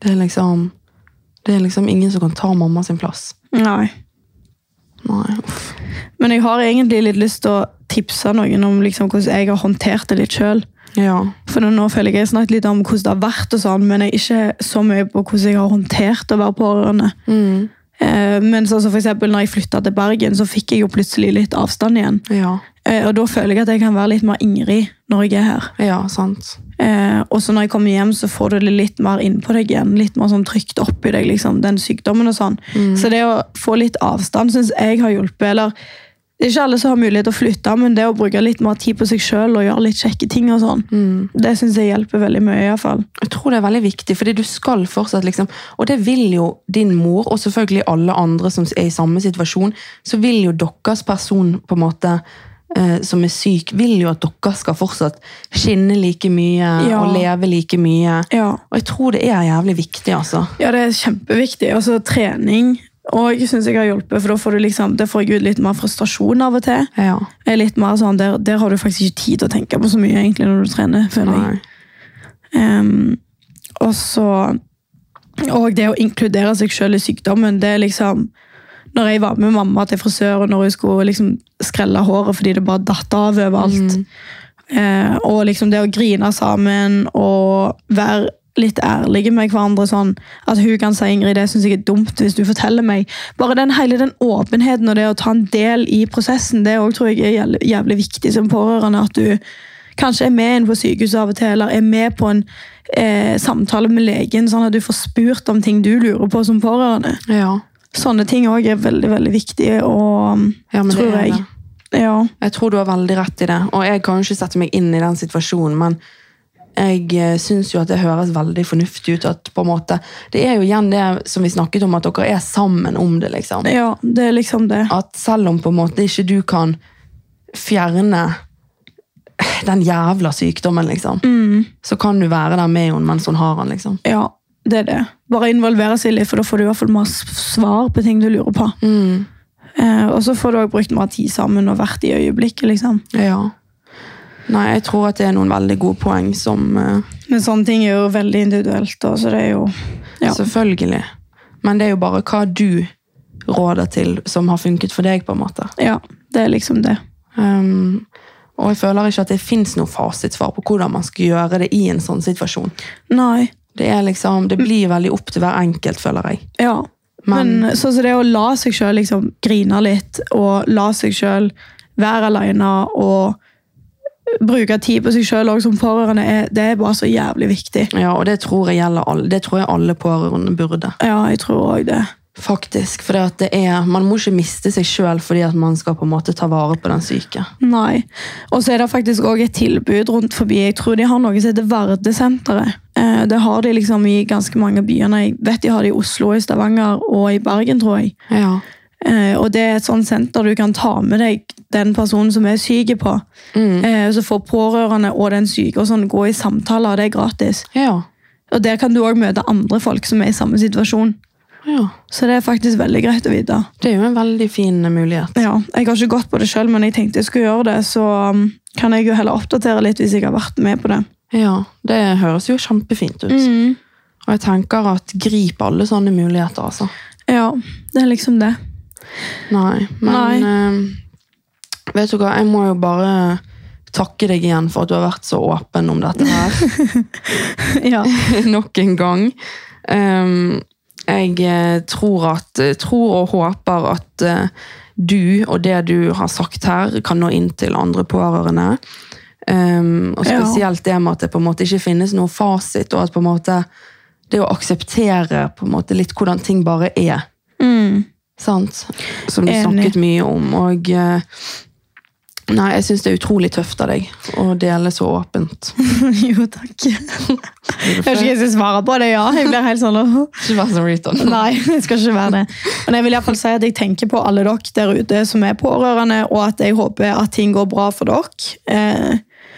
Det er liksom Det er liksom ingen som kan ta mamma sin plass. nei. Nei. Uff. Men jeg har egentlig litt lyst til å tipse noen om liksom hvordan jeg har håndtert det litt sjøl. Ja. For nå- nå føler jeg jeg har snakket litt om hvordan det har vært, og sånn, men jeg er ikke så mye på hvordan jeg har håndtert å være pårørende. Mm. Eh, Men sånn som for eksempel når jeg flytta til Bergen, så fikk jeg jo plutselig litt avstand igjen. Ja, Eh, Og da føler jeg at jeg kan være litt mer Ingrid når jeg er her. ja sant. Eh, og så når jeg kommer hjem, så får du det litt mer innpå deg igjen. Litt mer sånn trygt opp i deg, liksom, den sykdommen og sånn. Så det å få litt avstand syns jeg har hjulpet. Eller det er ikke alle som har mulighet til å flytte, men det å bruke litt mer tid på seg sjøl og gjøre litt kjekke ting og sånn, det syns jeg hjelper veldig mye, iallfall. Jeg tror det er veldig viktig, fordi du skal fortsatt liksom Og det vil jo din mor, og selvfølgelig alle andre som er i samme situasjon, så vil jo deres person på en måte eh, som er syk, vil jo at dere skal fortsatt skinne like mye Ja. og leve like mye. Ja. Og jeg tror det er jævlig viktig, altså. ja, det er kjempeviktig. Og så trening og jeg syns jeg har hjulpet, for da får du liksom, det får jeg ut litt mer frustrasjon av og til. Ja. Er litt mer sånn, der, der har du faktisk ikke tid til å tenke på så mye egentlig når du trener, føler jeg. Nei. Ehm, og så Og det å inkludere seg sjøl i sykdommen, det er liksom Når jeg var med mamma til frisør, og når hun skulle liksom skrelle håret fordi det bare datt av overalt eh, Og liksom det å grine sammen og være litt ærlige med hverandre sånn At hun kan si 'Ingrid, det syns jeg er dumt hvis du forteller meg'. Bare den hele den åpenheten og det å ta en del i prosessen, det òg tror jeg er jævlig- jævlig viktig som pårørende. at du Kanskje er med inn på sykehuset av og til, eller er med på en eh, samtale med legen, sånn at du får spurt om ting du lurer på som pårørende. Ja. Sånne ting òg er veldig veldig viktige, og, Ja, men det tror er jeg. det. Ja. Jeg tror du har veldig rett i det, og jeg kan jo ikke sette meg inn i den situasjonen, men jeg eh, syns jo at det høres veldig fornuftig ut at på en måte Det er jo igjen det som vi snakket om, at dere er sammen om det, liksom. ja, det er liksom det. At selv om på en måte ikke du kan fjerne den jævla sykdommen, liksom, så kan du være der med henne mens hun har den, liksom. Ja, det er det. Bare involvere seg litt, for da får du i hvert fall mer s- svar på ting du lurer på. Eh, og så får du òg brukt mer tid sammen og vært i øyeblikket, liksom. Ja. Nei, jeg tror at det er noen veldig gode poeng som eh, Men sånne ting er jo veldig individuelt, da, så det er jo ja. Selvfølgelig. Men det er jo bare hva du råder til som har funket for deg, på en måte. ja, det er liksom det. Um, og jeg føler ikke at det fins noe fasitsvar på hvordan man skal gjøre det i en sånn situasjon. Nei. Det, er liksom, det blir veldig opp til hver enkelt, føler jeg. Ja. Men, Men- sånn som det å la seg sjøl liksom grine litt, og la seg sjøl være aleine og bruke tid på seg sjøl òg som pårørende, er, det er bare så jævlig viktig. Ja, og det tror jeg gjelder alle. Det tror jeg alle pårørende burde. Ja, jeg tror òg det. Faktisk, for det at det er, Man må ikke miste seg sjøl fordi at man skal på en måte ta vare på den syke. Nei. Og så er det faktisk òg et tilbud rundt forbi. Jeg tror de har noe som heter Vardesenteret. Eh, Det har de liksom i ganske mange byer. Jeg vet de har det i Oslo, i Stavanger og i Bergen, tror jeg. Ja. Eh, og det er et sånt senter du kan ta med deg den personen som er syk på. Eh, så får pårørende og den syke og sånn gå i samtaler, og det er gratis. Ja. Og der kan du òg møte andre folk som er i samme situasjon. ja. Så det er faktisk veldig greit å vite. Det er jo en veldig fin mulighet. Ja, jeg har ikke gått på det sjøl, men jeg tenkte jeg skulle gjøre det, så um, kan jeg jo heller oppdatere litt hvis jeg har vært med på det. Ja, Det høres jo kjempefint ut. Mm. Og jeg tenker at grip alle sånne muligheter, altså. Ja, det er liksom det. Nei, men eh, vet du hva, jeg må jo bare takke deg igjen for at du har vært så åpen om dette her, ja. nok en gang. Ehm, jeg eh, tror, at, tror og håper at eh, du og det du har sagt her kan nå inn til andre pårørende. Ehm, og Ja. spesielt det med at det på en måte ikke finnes noe fasit, og at på en måte det å akseptere på en måte litt hvordan ting bare er. Mm. Sant? Som du Enig. snakket mye om. Og eh, Nei, jeg syns det er utrolig tøft av deg å dele så åpent. jo, takk. Jeg vet ikke om jeg skal svare på det, ja. Jeg blir helt sånn «Åh». Ikke vær sånn Riton. Nei, det skal ikke være det. Men jeg vil i hvert fall si at jeg tenker på alle dere der ute som er pårørende, og at jeg håper at ting går bra for dere. Eh,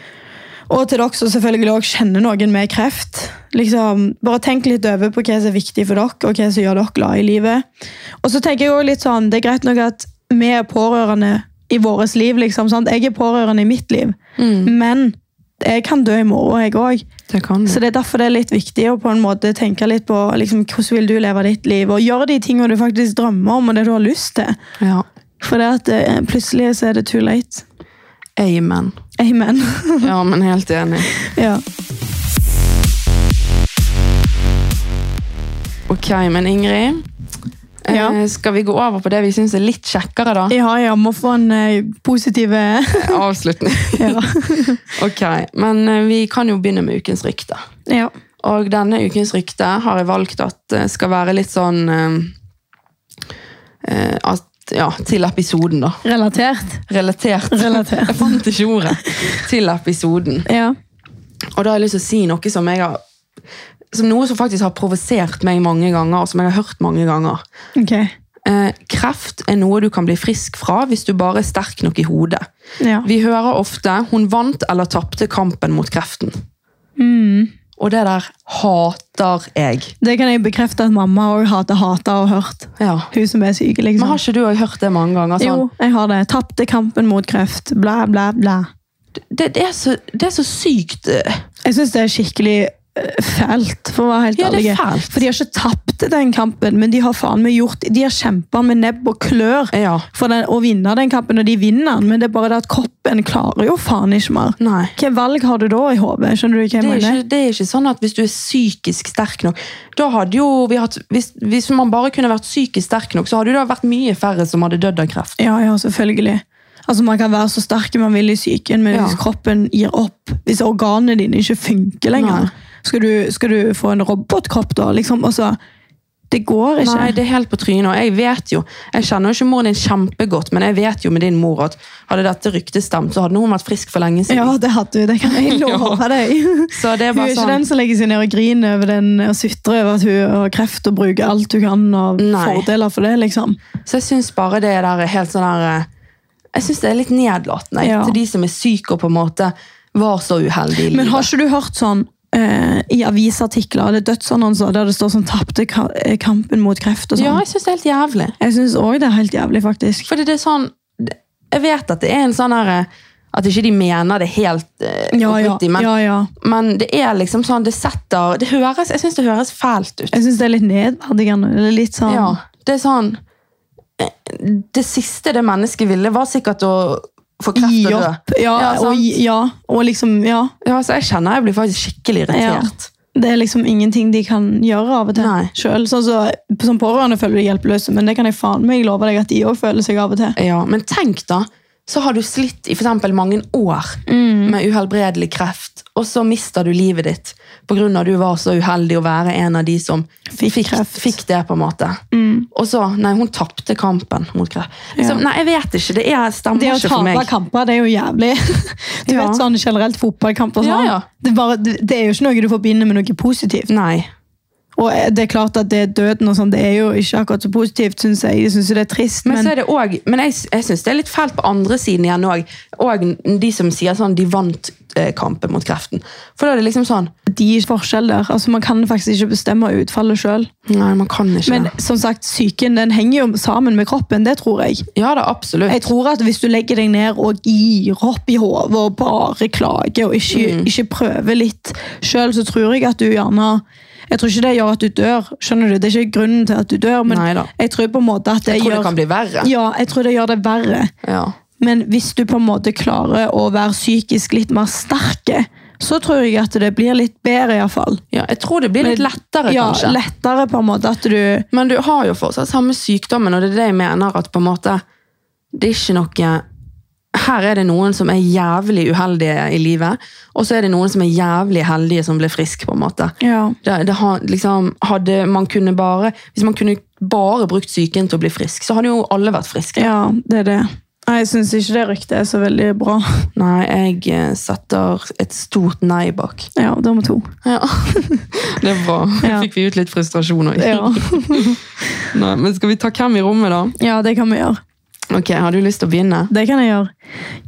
og til dere som selvfølgelig også kjenner noen med kreft. Liksom, bare tenk litt over på hva som er viktig for dere, og hva som gjør dere glad i livet. Og så tenker jeg også litt sånn, det er greit nok at vi er pårørende i våres liv, liksom. Sant? Jeg er pårørende i mitt liv, men jeg kan dø i morgen, jeg òg. Det kan du. Så det er derfor det er litt viktig å på en måte tenke litt på liksom, hvordan vil du leve ditt liv, og gjøre de tingene du faktisk drømmer om, og det du har lyst til. Ja. For det at eh, plutselig så er det too late. Amen. Amen. Ja, men helt enig. ja. Ok, men Ingrid. Eh, Ja. Skal vi gå over på det vi syns er litt kjekkere, da? Ja, ja, må få en eh, positiv eh, Avslutning. ja. ok, Men eh, vi kan jo begynne med ukens rykte. ja. Og denne ukens rykte har jeg valgt at eh, skal være litt sånn eh, eh, at, Ja, til episoden, da. Relatert. Relatert. Relatert. Jeg fant ikke ordet. Til episoden. Ja. Og da har jeg lyst til å si noe som jeg har som noe som faktisk har provosert meg mange ganger, og som jeg har hørt mange ganger. Ok. Eh, kreft er noe du kan bli frisk fra hvis du bare er sterk nok i hodet. Ja. Vi hører ofte 'hun vant eller tapte kampen mot kreften'. Mm. Og det der hater jeg. Det kan jeg bekrefte at mamma òg hater hata og hørt. Ja. Hun som er syk, liksom. Men har ikke du også hørt det mange ganger? Sånn? Jo, jeg har det. Tapte kampen mot kreft. Bla, bla, bla. Det, det, er så, det er så sykt. eh, Jeg syns det er skikkelig eh, fælt, for å være helt Ja, det ærlig. er fælt. For de har ikke tapt den kampen, men de har faen meg gjort De har kjempa med nebb og klør Ja. for den, å vinne den kampen, og de vinner den, men det er bare det at kroppen klarer jo faen ikke mer. Nei. Hvilke valg har du da i hodet? Skjønner du hva jeg Det er, mener? ikke, det er ikke sånn at hvis du er psykisk sterk nok da hadde jo vi hatt, hvis, hvis man bare kunne vært psykisk sterk nok, så hadde det vært mye færre som hadde dødd av kreft. Ja, ja, selvfølgelig. Altså, Man kan være så sterk man vil i psyken, men Ja. hvis kroppen gir opp, hvis organene dine ikke funker lenger, Nei. skal du, skal du få en robotkropp da? liksom? Altså, Det går ikke. Nei, det er helt på trynet. Og jeg vet jo, jeg kjenner jo ikke moren din kjempegodt, men jeg vet jo med din mor at hadde dette ryktet stemt, så hadde hun vært frisk for lenge Ja, siden. det hadde du. Det kan jeg love deg. Så det er Hun er bare ikke sånn, den som legger seg ned og griner over den og sutrer over at hun har kreft og bruker alt hun kan og Nei. fordeler for det. liksom. Så jeg syns bare det der er helt sånn der eh, Jeg syns det er litt nedlatende jeg, Ja. til de som er syke og på en måte var så uheldige i livet. Men har ikke du hørt sånn eh, i avisartikler eller dødsannonser der det står sånn 'tapte ka- eh, kampen mot kreft' og Ja, sånn? jeg syns det er helt jævlig. Jeg syns òg det er helt jævlig, faktisk. Fordi det er sånn Jeg vet at det er en sånn her At ikke de mener det helt eh, Ja, ja. oppriktig, men, ja, ja. men det er liksom sånn Det setter det høres, Jeg syns det høres fælt ut. Jeg syns det er litt nedverdigende. Eller litt sånn Ja, det er sånn eh, Det siste det mennesket ville, var sikkert å få kreft Gi og dø. opp. Ja, Ja, og, sant. gi- ja, og liksom Ja. Ja, så jeg kjenner jeg blir faktisk skikkelig irritert. Det er liksom ingenting de kan gjøre av og til Nei. sjøl. Sånn så, som pårørende føler de hjelpeløse, men det kan jeg faen meg love deg at de òg føler seg av og til. Ja. men tenk da, så har du slitt i for eksempel mange år Mm. med uhelbredelig kreft, og så mister du livet ditt på grunn av at du var så uheldig å være en av de som Fikk fikk, kreft. Mm. fikk det, på en måte. Og så Nei, hun tapte kampen mot kreft. Liksom, Nei, jeg vet ikke. Det er, Det stemmer å ikke for tape meg. kamper, det er jo jævlig. Du Ja. vet sånn generelt fotballkamper og Ja, sånn. ja. Det, er bare, det, det er jo ikke noe du forbinder med noe positivt. Nei. Og eh, det er klart at det er døden og sånn, det er jo ikke akkurat så positivt, syns jeg. Jeg syns jo det er trist, Men, men, så er det også, men jeg, jeg syns det er litt fælt på andre siden igjen òg. Og de som sier sånn de vant eh, kampen mot kreften. For da er det liksom sånn de er forskjell der. Altså, man kan faktisk ikke bestemme utfallet sjøl. Nei, man kan ikke Men det. som sagt, psyken den henger jo sammen med kroppen, det tror jeg. Ja da, absolutt. Jeg tror at hvis du legger deg ned og gir opp i hodet og bare klager og Mm. ikke, ikke prøver litt sjøl, så tror jeg at du gjerne Jeg tror ikke det gjør at du dør, skjønner du? Det er ikke grunnen til at du dør, men Neida. jeg tror på en måte at det Jeg tror det gjør kan bli verre. Ja, jeg tror det gjør det verre. Ja. Men hvis du på en måte klarer å være psykisk litt mer sterke, så tror jeg at det blir litt bedre, iallfall. ja, jeg tror det blir litt lettere, ja, kanskje. lettere på en måte at du Men du har jo fortsatt samme sykdommen, og det er det jeg mener at på en måte Det er ikke noe Her er det noen som er jævlig uheldige i livet, og så er det noen som er jævlig heldige som blir friske, på en måte. Ja. Det, det har, liksom, hadde man kunne bare, hvis man kunne bare brukt psyken til å bli frisk, så hadde jo alle vært friske. Ja, det er det. Nei, Jeg syns ikke det ryktet er så veldig bra. Nei, jeg eh, setter et stort nei bak. Ja, da må to. Ja. Det er bra. Ja. Fikk vi ut litt frustrasjon òg. Ja. Nei, Men skal vi ta hvem i rommet, da? ja, det kan vi gjøre. Ok, Har du lyst til å begynne? Det kan jeg gjøre.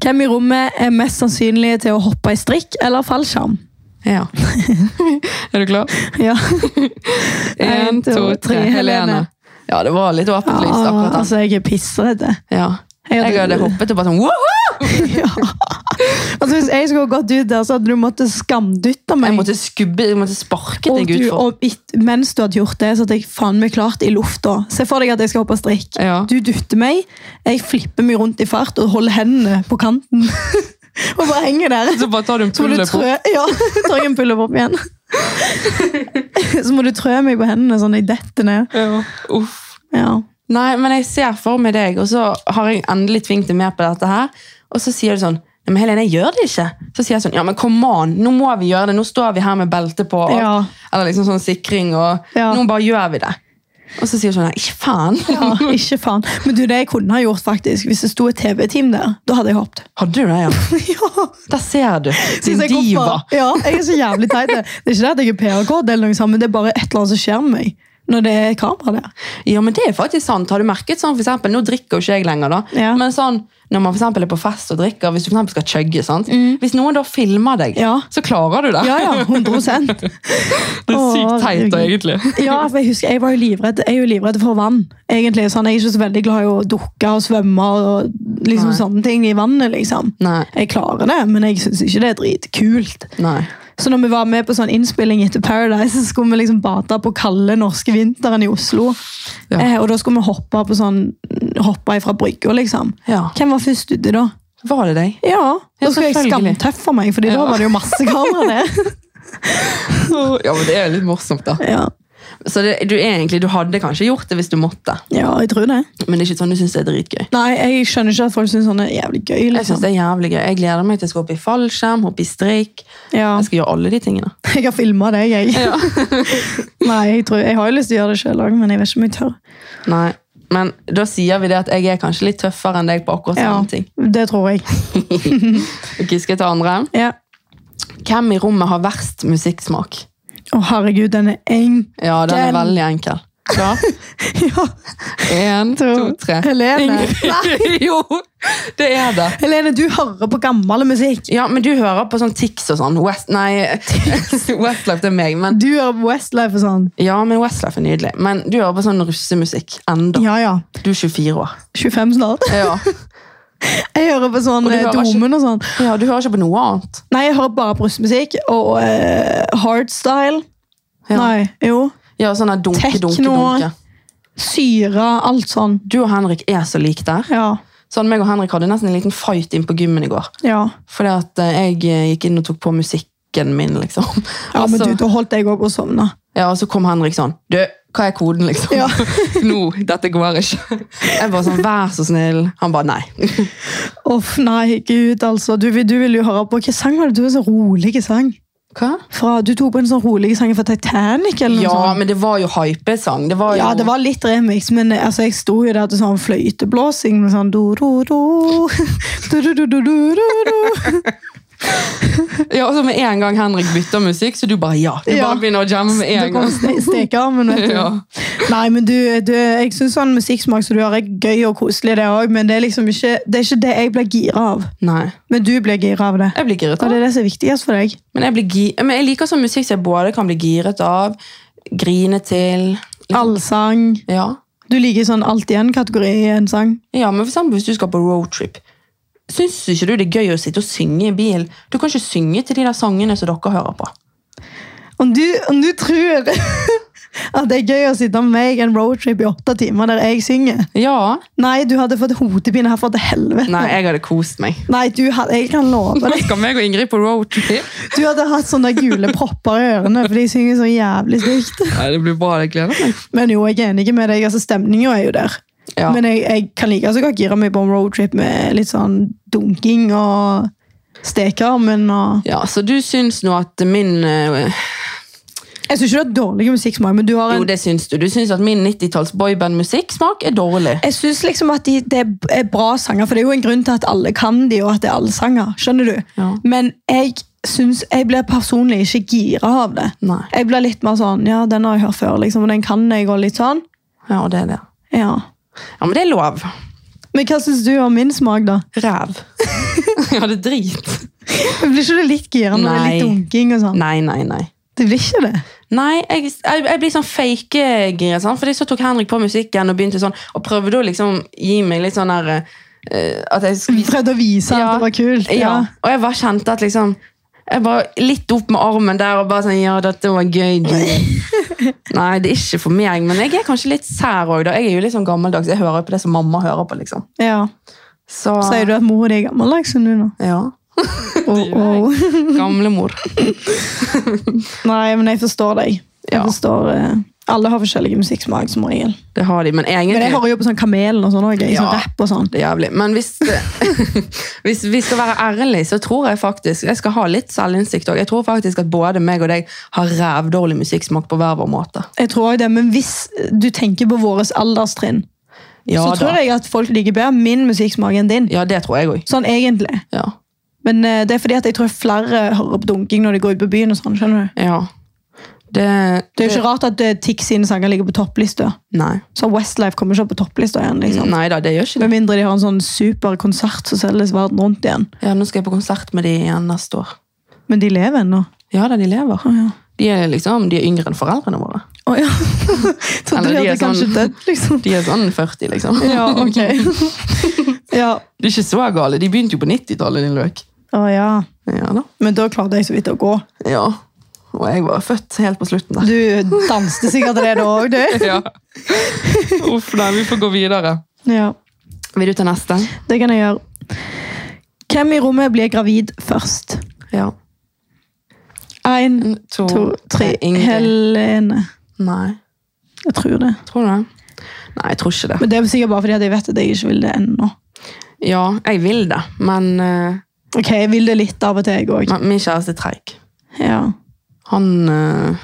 Hvem i rommet er mest sannsynlig til å hoppe i strikk eller fallskjerm? Ja. er du klar? Ja, En, to, tre. Helene. Ja, det var litt åpent lys akkurat da. altså, jeg er pissredd. Ja. Jeg hadde hoppet og bare sånn Woohoo! ja. altså, hvis jeg skulle gått ut der, så hadde du måttet skamdytte meg. Jeg måtte skubbe, jeg måtte sparke og deg du, utfor. og it, mens du hadde gjort det, så hadde jeg faen meg klart i lufta. Se for deg at jeg skal hoppe strikk. Ja. Du dytter meg, jeg flipper meg rundt i fart og holder hendene på kanten. og bare henger der. Så bare tar du en Så må du pulle på. trø Ja, tar jeg en pull-up opp igjen. så må du trø meg på hendene sånn jeg detter ned. Ja. Uff. Ja. Nei, men jeg ser for meg deg, og så har jeg endelig tvingt deg med på dette her. Og så sier du sånn Nei, men Helene, jeg gjør det ikke. Så sier jeg sånn Ja, men come on, nå må vi gjøre det. Nå står vi her med belte på. Og, Ja. Eller liksom sånn sikring og Ja. Nå bare gjør vi det. Og så sier du sånn Nei, ikke faen. ja, ikke faen. Men du, det jeg kunne ha gjort, faktisk, hvis det sto et TV-team der, da hadde jeg hoppet. Hadde du det, ja? ja. Der ser du. Synes Din jeg hvorfor- diva. Ja, jeg er så jævlig teit. Det Det er ikke det at jeg er PR-kode, eller noe sånt, men det er bare et eller annet som skjer med meg når det er kamera der. Ja, men det er faktisk sant. Har du merket sånn, for eksempel, Nå drikker jo ikke jeg lenger, da. Ja. Men sånn, når man for eksempel er på fest og drikker, hvis du for eksempel skal chugge sant? Hvis noen da filmer deg, Ja. så klarer du det. Ja, ja, 100 Det er sykt Å, teit, da, herregud. egentlig. Ja, for jeg husker, jeg var jo livredd, jeg er jo livredd for vann. Egentlig, sånn, Jeg er ikke så veldig glad i å dukke og svømme og liksom, Nei. sånne ting i vannet. liksom. Nei. Jeg klarer det, men jeg syns ikke det er dritkult. Nei. Så når vi var med på sånn innspilling etter Paradise, så skulle vi liksom bade på kalde norske vinteren i Oslo. Ja. Eh, og da skulle vi hoppe på sånn, hoppe ifra brygga, liksom. Ja. Hvem var først ute da? Var det deg? Ja, Ja, Da skulle jeg selvfølgelig. skamtøffe meg, Fordi da Ja. var det jo masse kamera der. Ja, men det er litt morsomt, da. ja. Så det, du, egentlig, du hadde kanskje gjort det hvis du måtte, ja, jeg tror det. men det er ikke sånn du syns det er dritgøy. Nei, jeg skjønner ikke at folk syns sånn er jævlig gøy. Jeg synes Liksom. det er jævlig gøy. Jeg gleder meg til jeg skal hoppe i fallskjerm, hoppe i streik. Ja. Jeg skal gjøre alle de tingene. Jeg har filma deg, jeg. Nei, jeg, tror, jeg har jo lyst til å gjøre det sjøl òg, men jeg vet ikke om jeg tør. Nei, men da sier vi det at jeg er kanskje litt tøffere enn deg på akkurat Ja, sånne ting. det tror jeg. Ok, skal jeg ta andre? Ja. Hvem i rommet har verst musikksmak? Å, herregud, den er eng. Ja, den er Den. veldig enkel. Klar? Ja. En, to, To. tre. Helene. Ingrid. jo, det er det. Helene, du hører på gammel musikk. Ja, men du hører på sånn Tix og sånn. West, nei, Westlife det er meg, men... Du hører på Westlife og sånn. Ja, men Westlife er nydelig. Men du hører på sånn russemusikk enda. Ja, ja. Du er 24 år. 25 snart. Ja. Jeg hører på sånn Og du eh, hører ikke- Domen og sånn. ja, du hører ikke på noe annet. Nei, jeg hører bare brystmusikk og eh, hardstyle. Ja. Nei, jo. Ja, sånn der dunke, dunke, Techno. dunke. Syre, alt sånn. Du og Henrik er så like der. Ja. Sånn, meg og Henrik hadde nesten en liten fight inn på gymmen i går. Ja, Fordi at eh, jeg eh, gikk inn og tok på musikken min, liksom. ja og, men så, du, da holdt jeg òg på å sovne. ja, og så kom Henrik sånn Du, hva er koden, liksom? Ja. Nå, dette går ikke. Jeg bare sånn, vær så snill. Han bare nei. Uff, nei, gud, altså. Du, vil- du vil jo høre på Hvilken sang var det? Du var så rolig sang. Hva? Fra, du tok på en sånn rolig sang fra Titanic, eller noe Ja, sånt. men det var jo hypesang. Det var jo Ja, det var litt remix, men eh, altså, jeg sto jo der til sånn fløyteblåsing med sånn do-do-do. Do-do-do-do-do-do. Ja, og så med en gang Henrik bytter musikk, så du bare ja. Du Ja. bare begynner å jamme med Da en kom gang. ste- stekearmen, vet du. Ja. Nei, men du, du jeg syns sånn musikksmak som du har, er gøy og koselig, det òg, men det er liksom ikke det, er ikke det jeg blir gira av. Nei. Men du blir gira av det. Jeg blir giret Og av det det. er det som er viktigst for deg. Men jeg, blir gi men jeg liker sånn musikk som jeg både kan bli giret av, grine til. Allsang. Ja. Du liker sånn alt igjen-kategori i en sang. Ja, men for eksempel hvis du skal på roadtrip, syns ikke du det er gøy å sitte og synge i bil? Du kan ikke synge til de der sangene som dere hører på. Om du, om du tror at det er gøy å sitte med meg en roadtrip i åtte timer der jeg synger Ja. Nei, du hadde fått hodepine herfra til helvete. Nei, jeg hadde kost meg. Nei, du hadde, jeg kan love Nå deg. skal meg og Ingrid på roadtrip. Du hadde hatt sånne gule propper i ørene, for de synger så jævlig stygt. Nei, det blir bra. Jeg gleder meg. Men jo, jeg er enig med deg. altså Stemninga er jo der. Ja. Men jeg, jeg kan like så godt gire meg på en roadtrip med litt sånn dunking og stekearmen og ja, så du syns nå at min eh, Jeg syns ikke du har dårlig musikksmak, men du har en Jo, det syns du. Du syns at min 90-talls boyband-musikksmak er dårlig. Jeg syns liksom at de, det er bra sanger, for det er jo en grunn til at alle kan de, og at det er alle sanger. Skjønner du? Ja. Men jeg syns Jeg blir personlig ikke gira av det. Nei. Jeg blir litt mer sånn Ja, den har jeg hørt før, liksom, og den kan jeg, og litt sånn. Ja, og det er det. Ja. Ja, men det er lov. Men hva syns du om min smak, da? Ræv. ja, det er drit. Blir ikke du litt gira når det er Nei. litt dunking og sånn? Nei, nei, nei. Det blir ikke det. Nei, jeg, jeg, jeg blir sånn fake-gira. Sånn, fordi så tok Henrik på musikken og begynte sånn, og prøvde å liksom gi meg litt sånn der eh, at jeg Vi skulle, prøvde å vise Ja. at det var kult. ja. Og jeg bare kjente at liksom jeg bare Litt opp med armen der og bare sånn Ja, dette var gøy. du." Nei, det er ikke for meg, men jeg er kanskje litt sær òg. Jeg er jo litt sånn gammeldags. Jeg hører jo på det som mamma hører på, liksom. Ja. Så, Sier du at mora di er gammeldags som du nå? Ja. Oh, oh. Gamlemor. Nei, men jeg forstår deg. Jeg Ja. forstår eh, Alle har forskjellige musikksmak, som regel. Det har de, men egentlig Men jeg hører jo på sånn Kamelen og sånn også, jeg, i sånn Ja. rapp og sånn. det er jævlig. Men hvis, hvis vi skal være ærlige, så tror jeg faktisk Jeg skal ha litt selvinnsikt òg. Jeg tror faktisk at både meg og deg har rævdårlig musikksmak på hver vår måte. Jeg tror også det, Men hvis du tenker på våres alderstrinn, Ja, så tror da. jeg at folk liker bedre min musikksmak enn din. ja det tror jeg òg. Sånn egentlig. Ja. Men eh, det er fordi at jeg tror flere hører på dunking når de går ut på byen. og sånn, skjønner du? ja. Det, Det er jo ikke rart at eh, Tix sine sanger ligger på topplista. Nei. Så Westlife kommer ikke opp på topplista igjen. liksom. Nei da, det gjør ikke det. Med mindre de har en sånn super konsert som selges verden rundt igjen. Ja, Nå skal jeg på konsert med de igjen neste år. Men de lever ennå. Ja da, de lever. Å ja. De er liksom, de er yngre enn foreldrene våre. Å ja. Trodde Eller de de er hadde kanskje sånn- dødd, liksom. De er sånn 40, liksom. Ja, ok. ja. De er ikke så gale. De begynte jo på 90-tallet, din løk. Å ja. Ja da. Men da klarte jeg så vidt å gå. Ja. Og jeg var født helt på slutten der. Du danste sikkert det da òg, du. Ja. Uff, nei, vi får gå videre. Ja, Vil du ta neste? det kan jeg gjøre. Hvem i rommet blir gravid først? Ja. Én, En, Mm, to, to, tre. Ingrid. Helene. Nei. Jeg tror det. Tror du det? Nei, jeg tror ikke det. Men det er sikkert bare fordi at jeg vet at jeg ikke vil det ennå. Ja, jeg vil det, men, eh, Ok, jeg vil det litt av og til, jeg òg. men min kjæreste er treig. Ja. Han eh,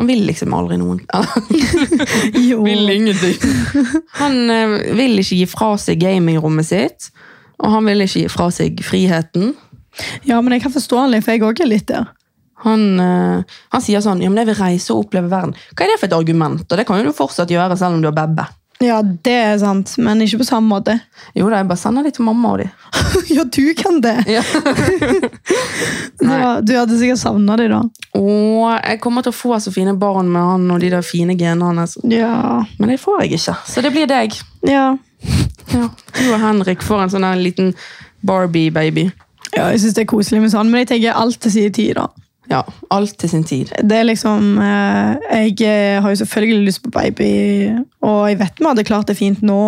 Han vil liksom aldri noen Jo. ingenting. Han eh, vil ikke gi fra seg gamingrommet sitt, og han vil ikke gi fra seg friheten. Ja, men jeg kan forstå han litt, for jeg òg er litt der. Han, eh, han sier sånn ja, men 'Jeg vil reise og oppleve verden'. Hva er det for et argument? Og det kan jo du fortsatt gjøre selv om du har bebbe. Ja, det er sant, men ikke på samme måte. Jo da, jeg bare sender de til mamma og de. ja, du kan det! Ja. Nei. Ja, du hadde sikkert savna de da. Og jeg kommer til å få så fine barn med han og de der fine genene hans. Ja. Men det får jeg ikke, så det blir deg. Ja, Du og Henrik får en sånn her liten Barbie-baby. jeg syns det er koselig med sånn, men jeg tenker alt til sin tid, da. Ja, alt til sin tid. Det er liksom eh, Jeg eh, har jo selvfølgelig lyst på baby, og jeg vet vi hadde klart det fint nå.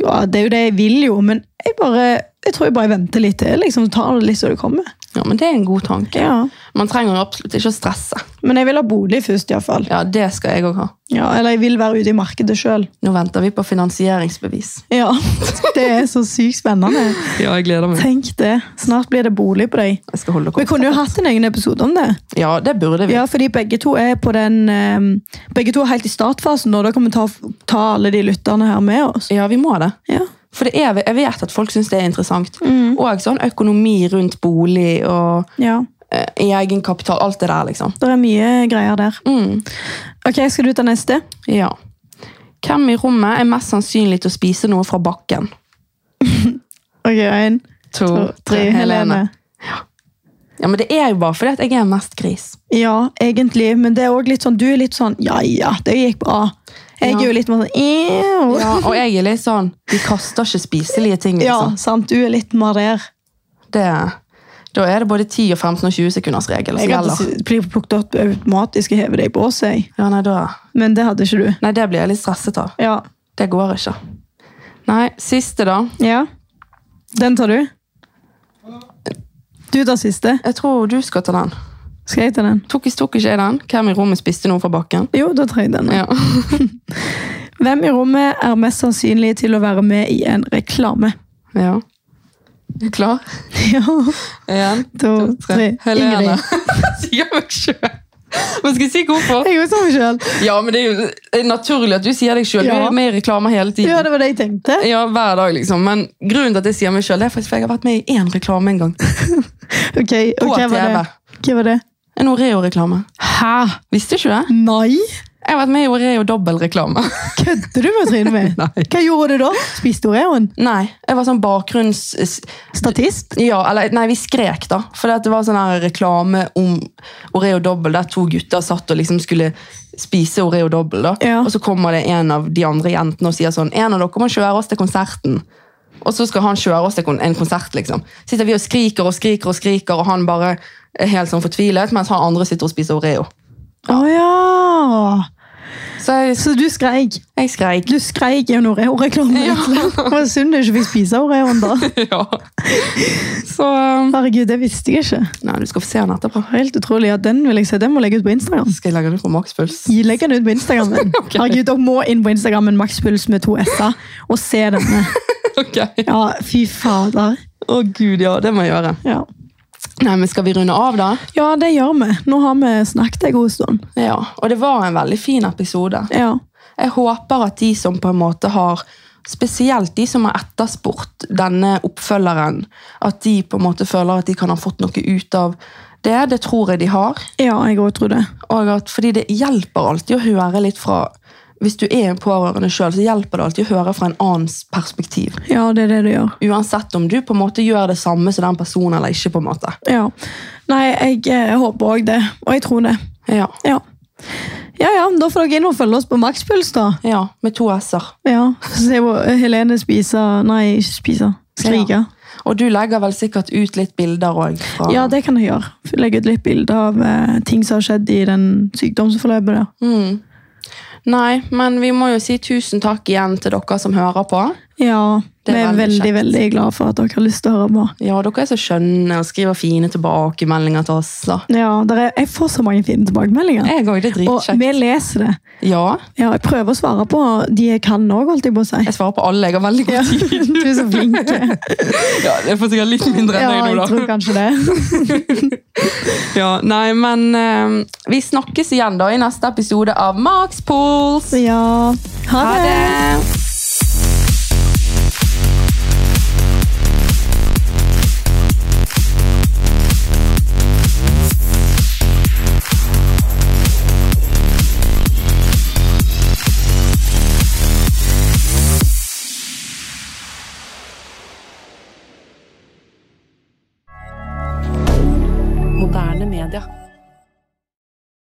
Ja, det er jo det jeg vil, jo, men jeg bare jeg tror jeg bare venter litt til. liksom Tar det litt så det kommer. Ja, men det er en god tanke. Ja. Man trenger absolutt ikke å stresse. Men jeg vil ha bolig først, iallfall. Ja, det skal jeg òg ha. Ja, eller jeg vil være ute i markedet sjøl. Nå venter vi på finansieringsbevis. Ja. Det er så sykt spennende. Ja, jeg gleder Tenk det. Snart blir det bolig på deg. Jeg skal holde Vi kort. kunne jo hatt en egen episode om det. Ja, det burde vi. Ja, fordi begge to er på den eh, Begge to er helt i startfasen, og da kan vi ta, ta alle de lytterne her med oss. Ja, vi må det. Ja. For det er, jeg vet at folk syns det er interessant. Og sånn økonomi rundt bolig og Ja, eh, egenkapital. Alt det der, liksom. det er mye greier der. Mm. Ok, Skal du ta neste? Ja. Hvem i rommet er mest sannsynlig til å spise noe fra bakken? Ok, en, To, to, tre, Helene. Ja, men Det er jo bare fordi at jeg er mest gris. Ja, egentlig, men det er også litt sånn, du er litt sånn ja ja, det gikk bra. Jeg Ja. er jo litt mer sånn «Ew». Ja, og jeg er litt sånn Vi kaster ikke spiselige ting, Ja, liksom. sant, du er litt mer der. Det, da er det både 10, og 15 og 20 sekunders regel som Jeg hadde gjelder. s- blitt plukket opp automatisk og hevet deg på oss, jeg. Ja, nei, da. Men det hadde ikke du. nei, det blir jeg litt stresset av. Ja. Det går ikke. Nei, siste, da. ja. Den tar du. Du tar siste. Jeg tror du skal ta den. Skal jeg ta den? Tok, tok ikke jeg den? Hvem i rommet spiste noe fra bakken? Jo, da tar jeg den. Ja. Hvem i rommet er mest sannsynlig til å være med i en reklame? ja. Er du klar? Ja. Én, to, Mm, tre. Helene. Ingrid. Sier meg sjøl. Men skal jeg si hvorfor? Jeg sånn sa meg sjøl. Ja, men Det er jo det er naturlig at du sier deg sjøl. Du er Ja. jo med i reklame hele tiden. Ja, det var det jeg tenkte. Ja, hver dag, liksom. Men grunnen til at jeg sier meg sjøl, er faktisk for jeg har vært med i én reklame en gang. Ok, På og hva var det? TV. Hva var det? En Oreo-reklame. Hæ? Visste ikke du det? Nei? Jeg har vært med i Oreo-dobbeltreklame. Kødder du med trynet mitt? Nei. Hva gjorde du da? Spiste Oreoen? Nei, jeg var sånn bakgrunns... Statist? Ja, eller nei, vi skrek da. For det var sånn her reklame om Oreo dobbel, der to gutter satt og liksom skulle spise Oreo dobbel. da. Ja. Og så kommer det en av de andre jentene og sier sånn, en av dere må kjøre oss til konserten. Og så skal han kjøre oss til kon- en konsert, liksom. Sitter vi og skriker og skriker og skriker, og han bare er helt sånn fortvilet, mens han andre sitter og spiser Oreo. Å ja. Så jeg, Så du skreik. jeg skreik. Du skreik i en Oreo-reklame. Ja. Det var synd du ikke fikk spise Oreoen da. ja. Så um, Herregud, det visste jeg ikke. Nei, du skal få se den etterpå. Helt utrolig. Ja, den vil jeg se. Den må legge ut på Instagram. Skal jeg legge den ut på makspuls? Gi- Legg den ut på Instagrammen. Ok. Herregud, dere må inn på Instagrammen Maxpuls med to s-er og se denne. Ok. Å, Ja, fy fader. gud, ja. Det må jeg gjøre. Ja. Nei, men Skal vi runde av, da? ja, det gjør vi. Nå har vi snakket en god stund. Ja. Og det var en veldig fin episode. Ja. Jeg håper at de som på en måte har Spesielt de som har etterspurt denne oppfølgeren, at de på en måte føler at de kan ha fått noe ut av det. Det tror jeg de har. ja, jeg òg tror det. Og at, fordi det hjelper alltid å høre litt fra Hvis du er en pårørende sjøl, så hjelper det alltid å høre fra en annens perspektiv. Ja, det er det det gjør. Uansett om du på en måte gjør det samme som den personen eller ikke. på en måte. Ja. Nei, jeg eh, håper òg det. Og jeg tror det. Ja, Ja. ja, ja, da får dere inn og følge oss på Maxpuls, da. ja Med to s-er. Ja, Se hvor Helene spiser Nei, ikke spiser. Skriker. Og du legger vel sikkert ut litt bilder òg? Ja, det kan jeg gjøre. Legge ut litt bilder av eh, ting som har skjedd i den sykdomsforløpet. der. Mm. Nei, men vi må jo si tusen takk igjen til dere som hører på. Ja, Det vi er er veldig veldig, kjekt. veldig, glad for at dere har lyst til å høre på. Ja, dere er så skjønne og skriver fine tilbakemeldinger til oss. Da. Ja, der er, Jeg får så mange fine tilbakemeldinger. Jeg òg. Det er Og dritkjekt. vi leser det. Ja, Ja, Jeg prøver å svare på de jeg kan òg, holdt jeg på å si. jeg svarer på alle. Jeg har veldig Ja, god tid. du er så flink. Ja, jeg får sikkert litt mindre enn Ja, deg jeg nå, da. tror kanskje det. Ja, nei, men eh, vi snakkes igjen da i neste episode av Max Pools. Ja, ha Ha det! det!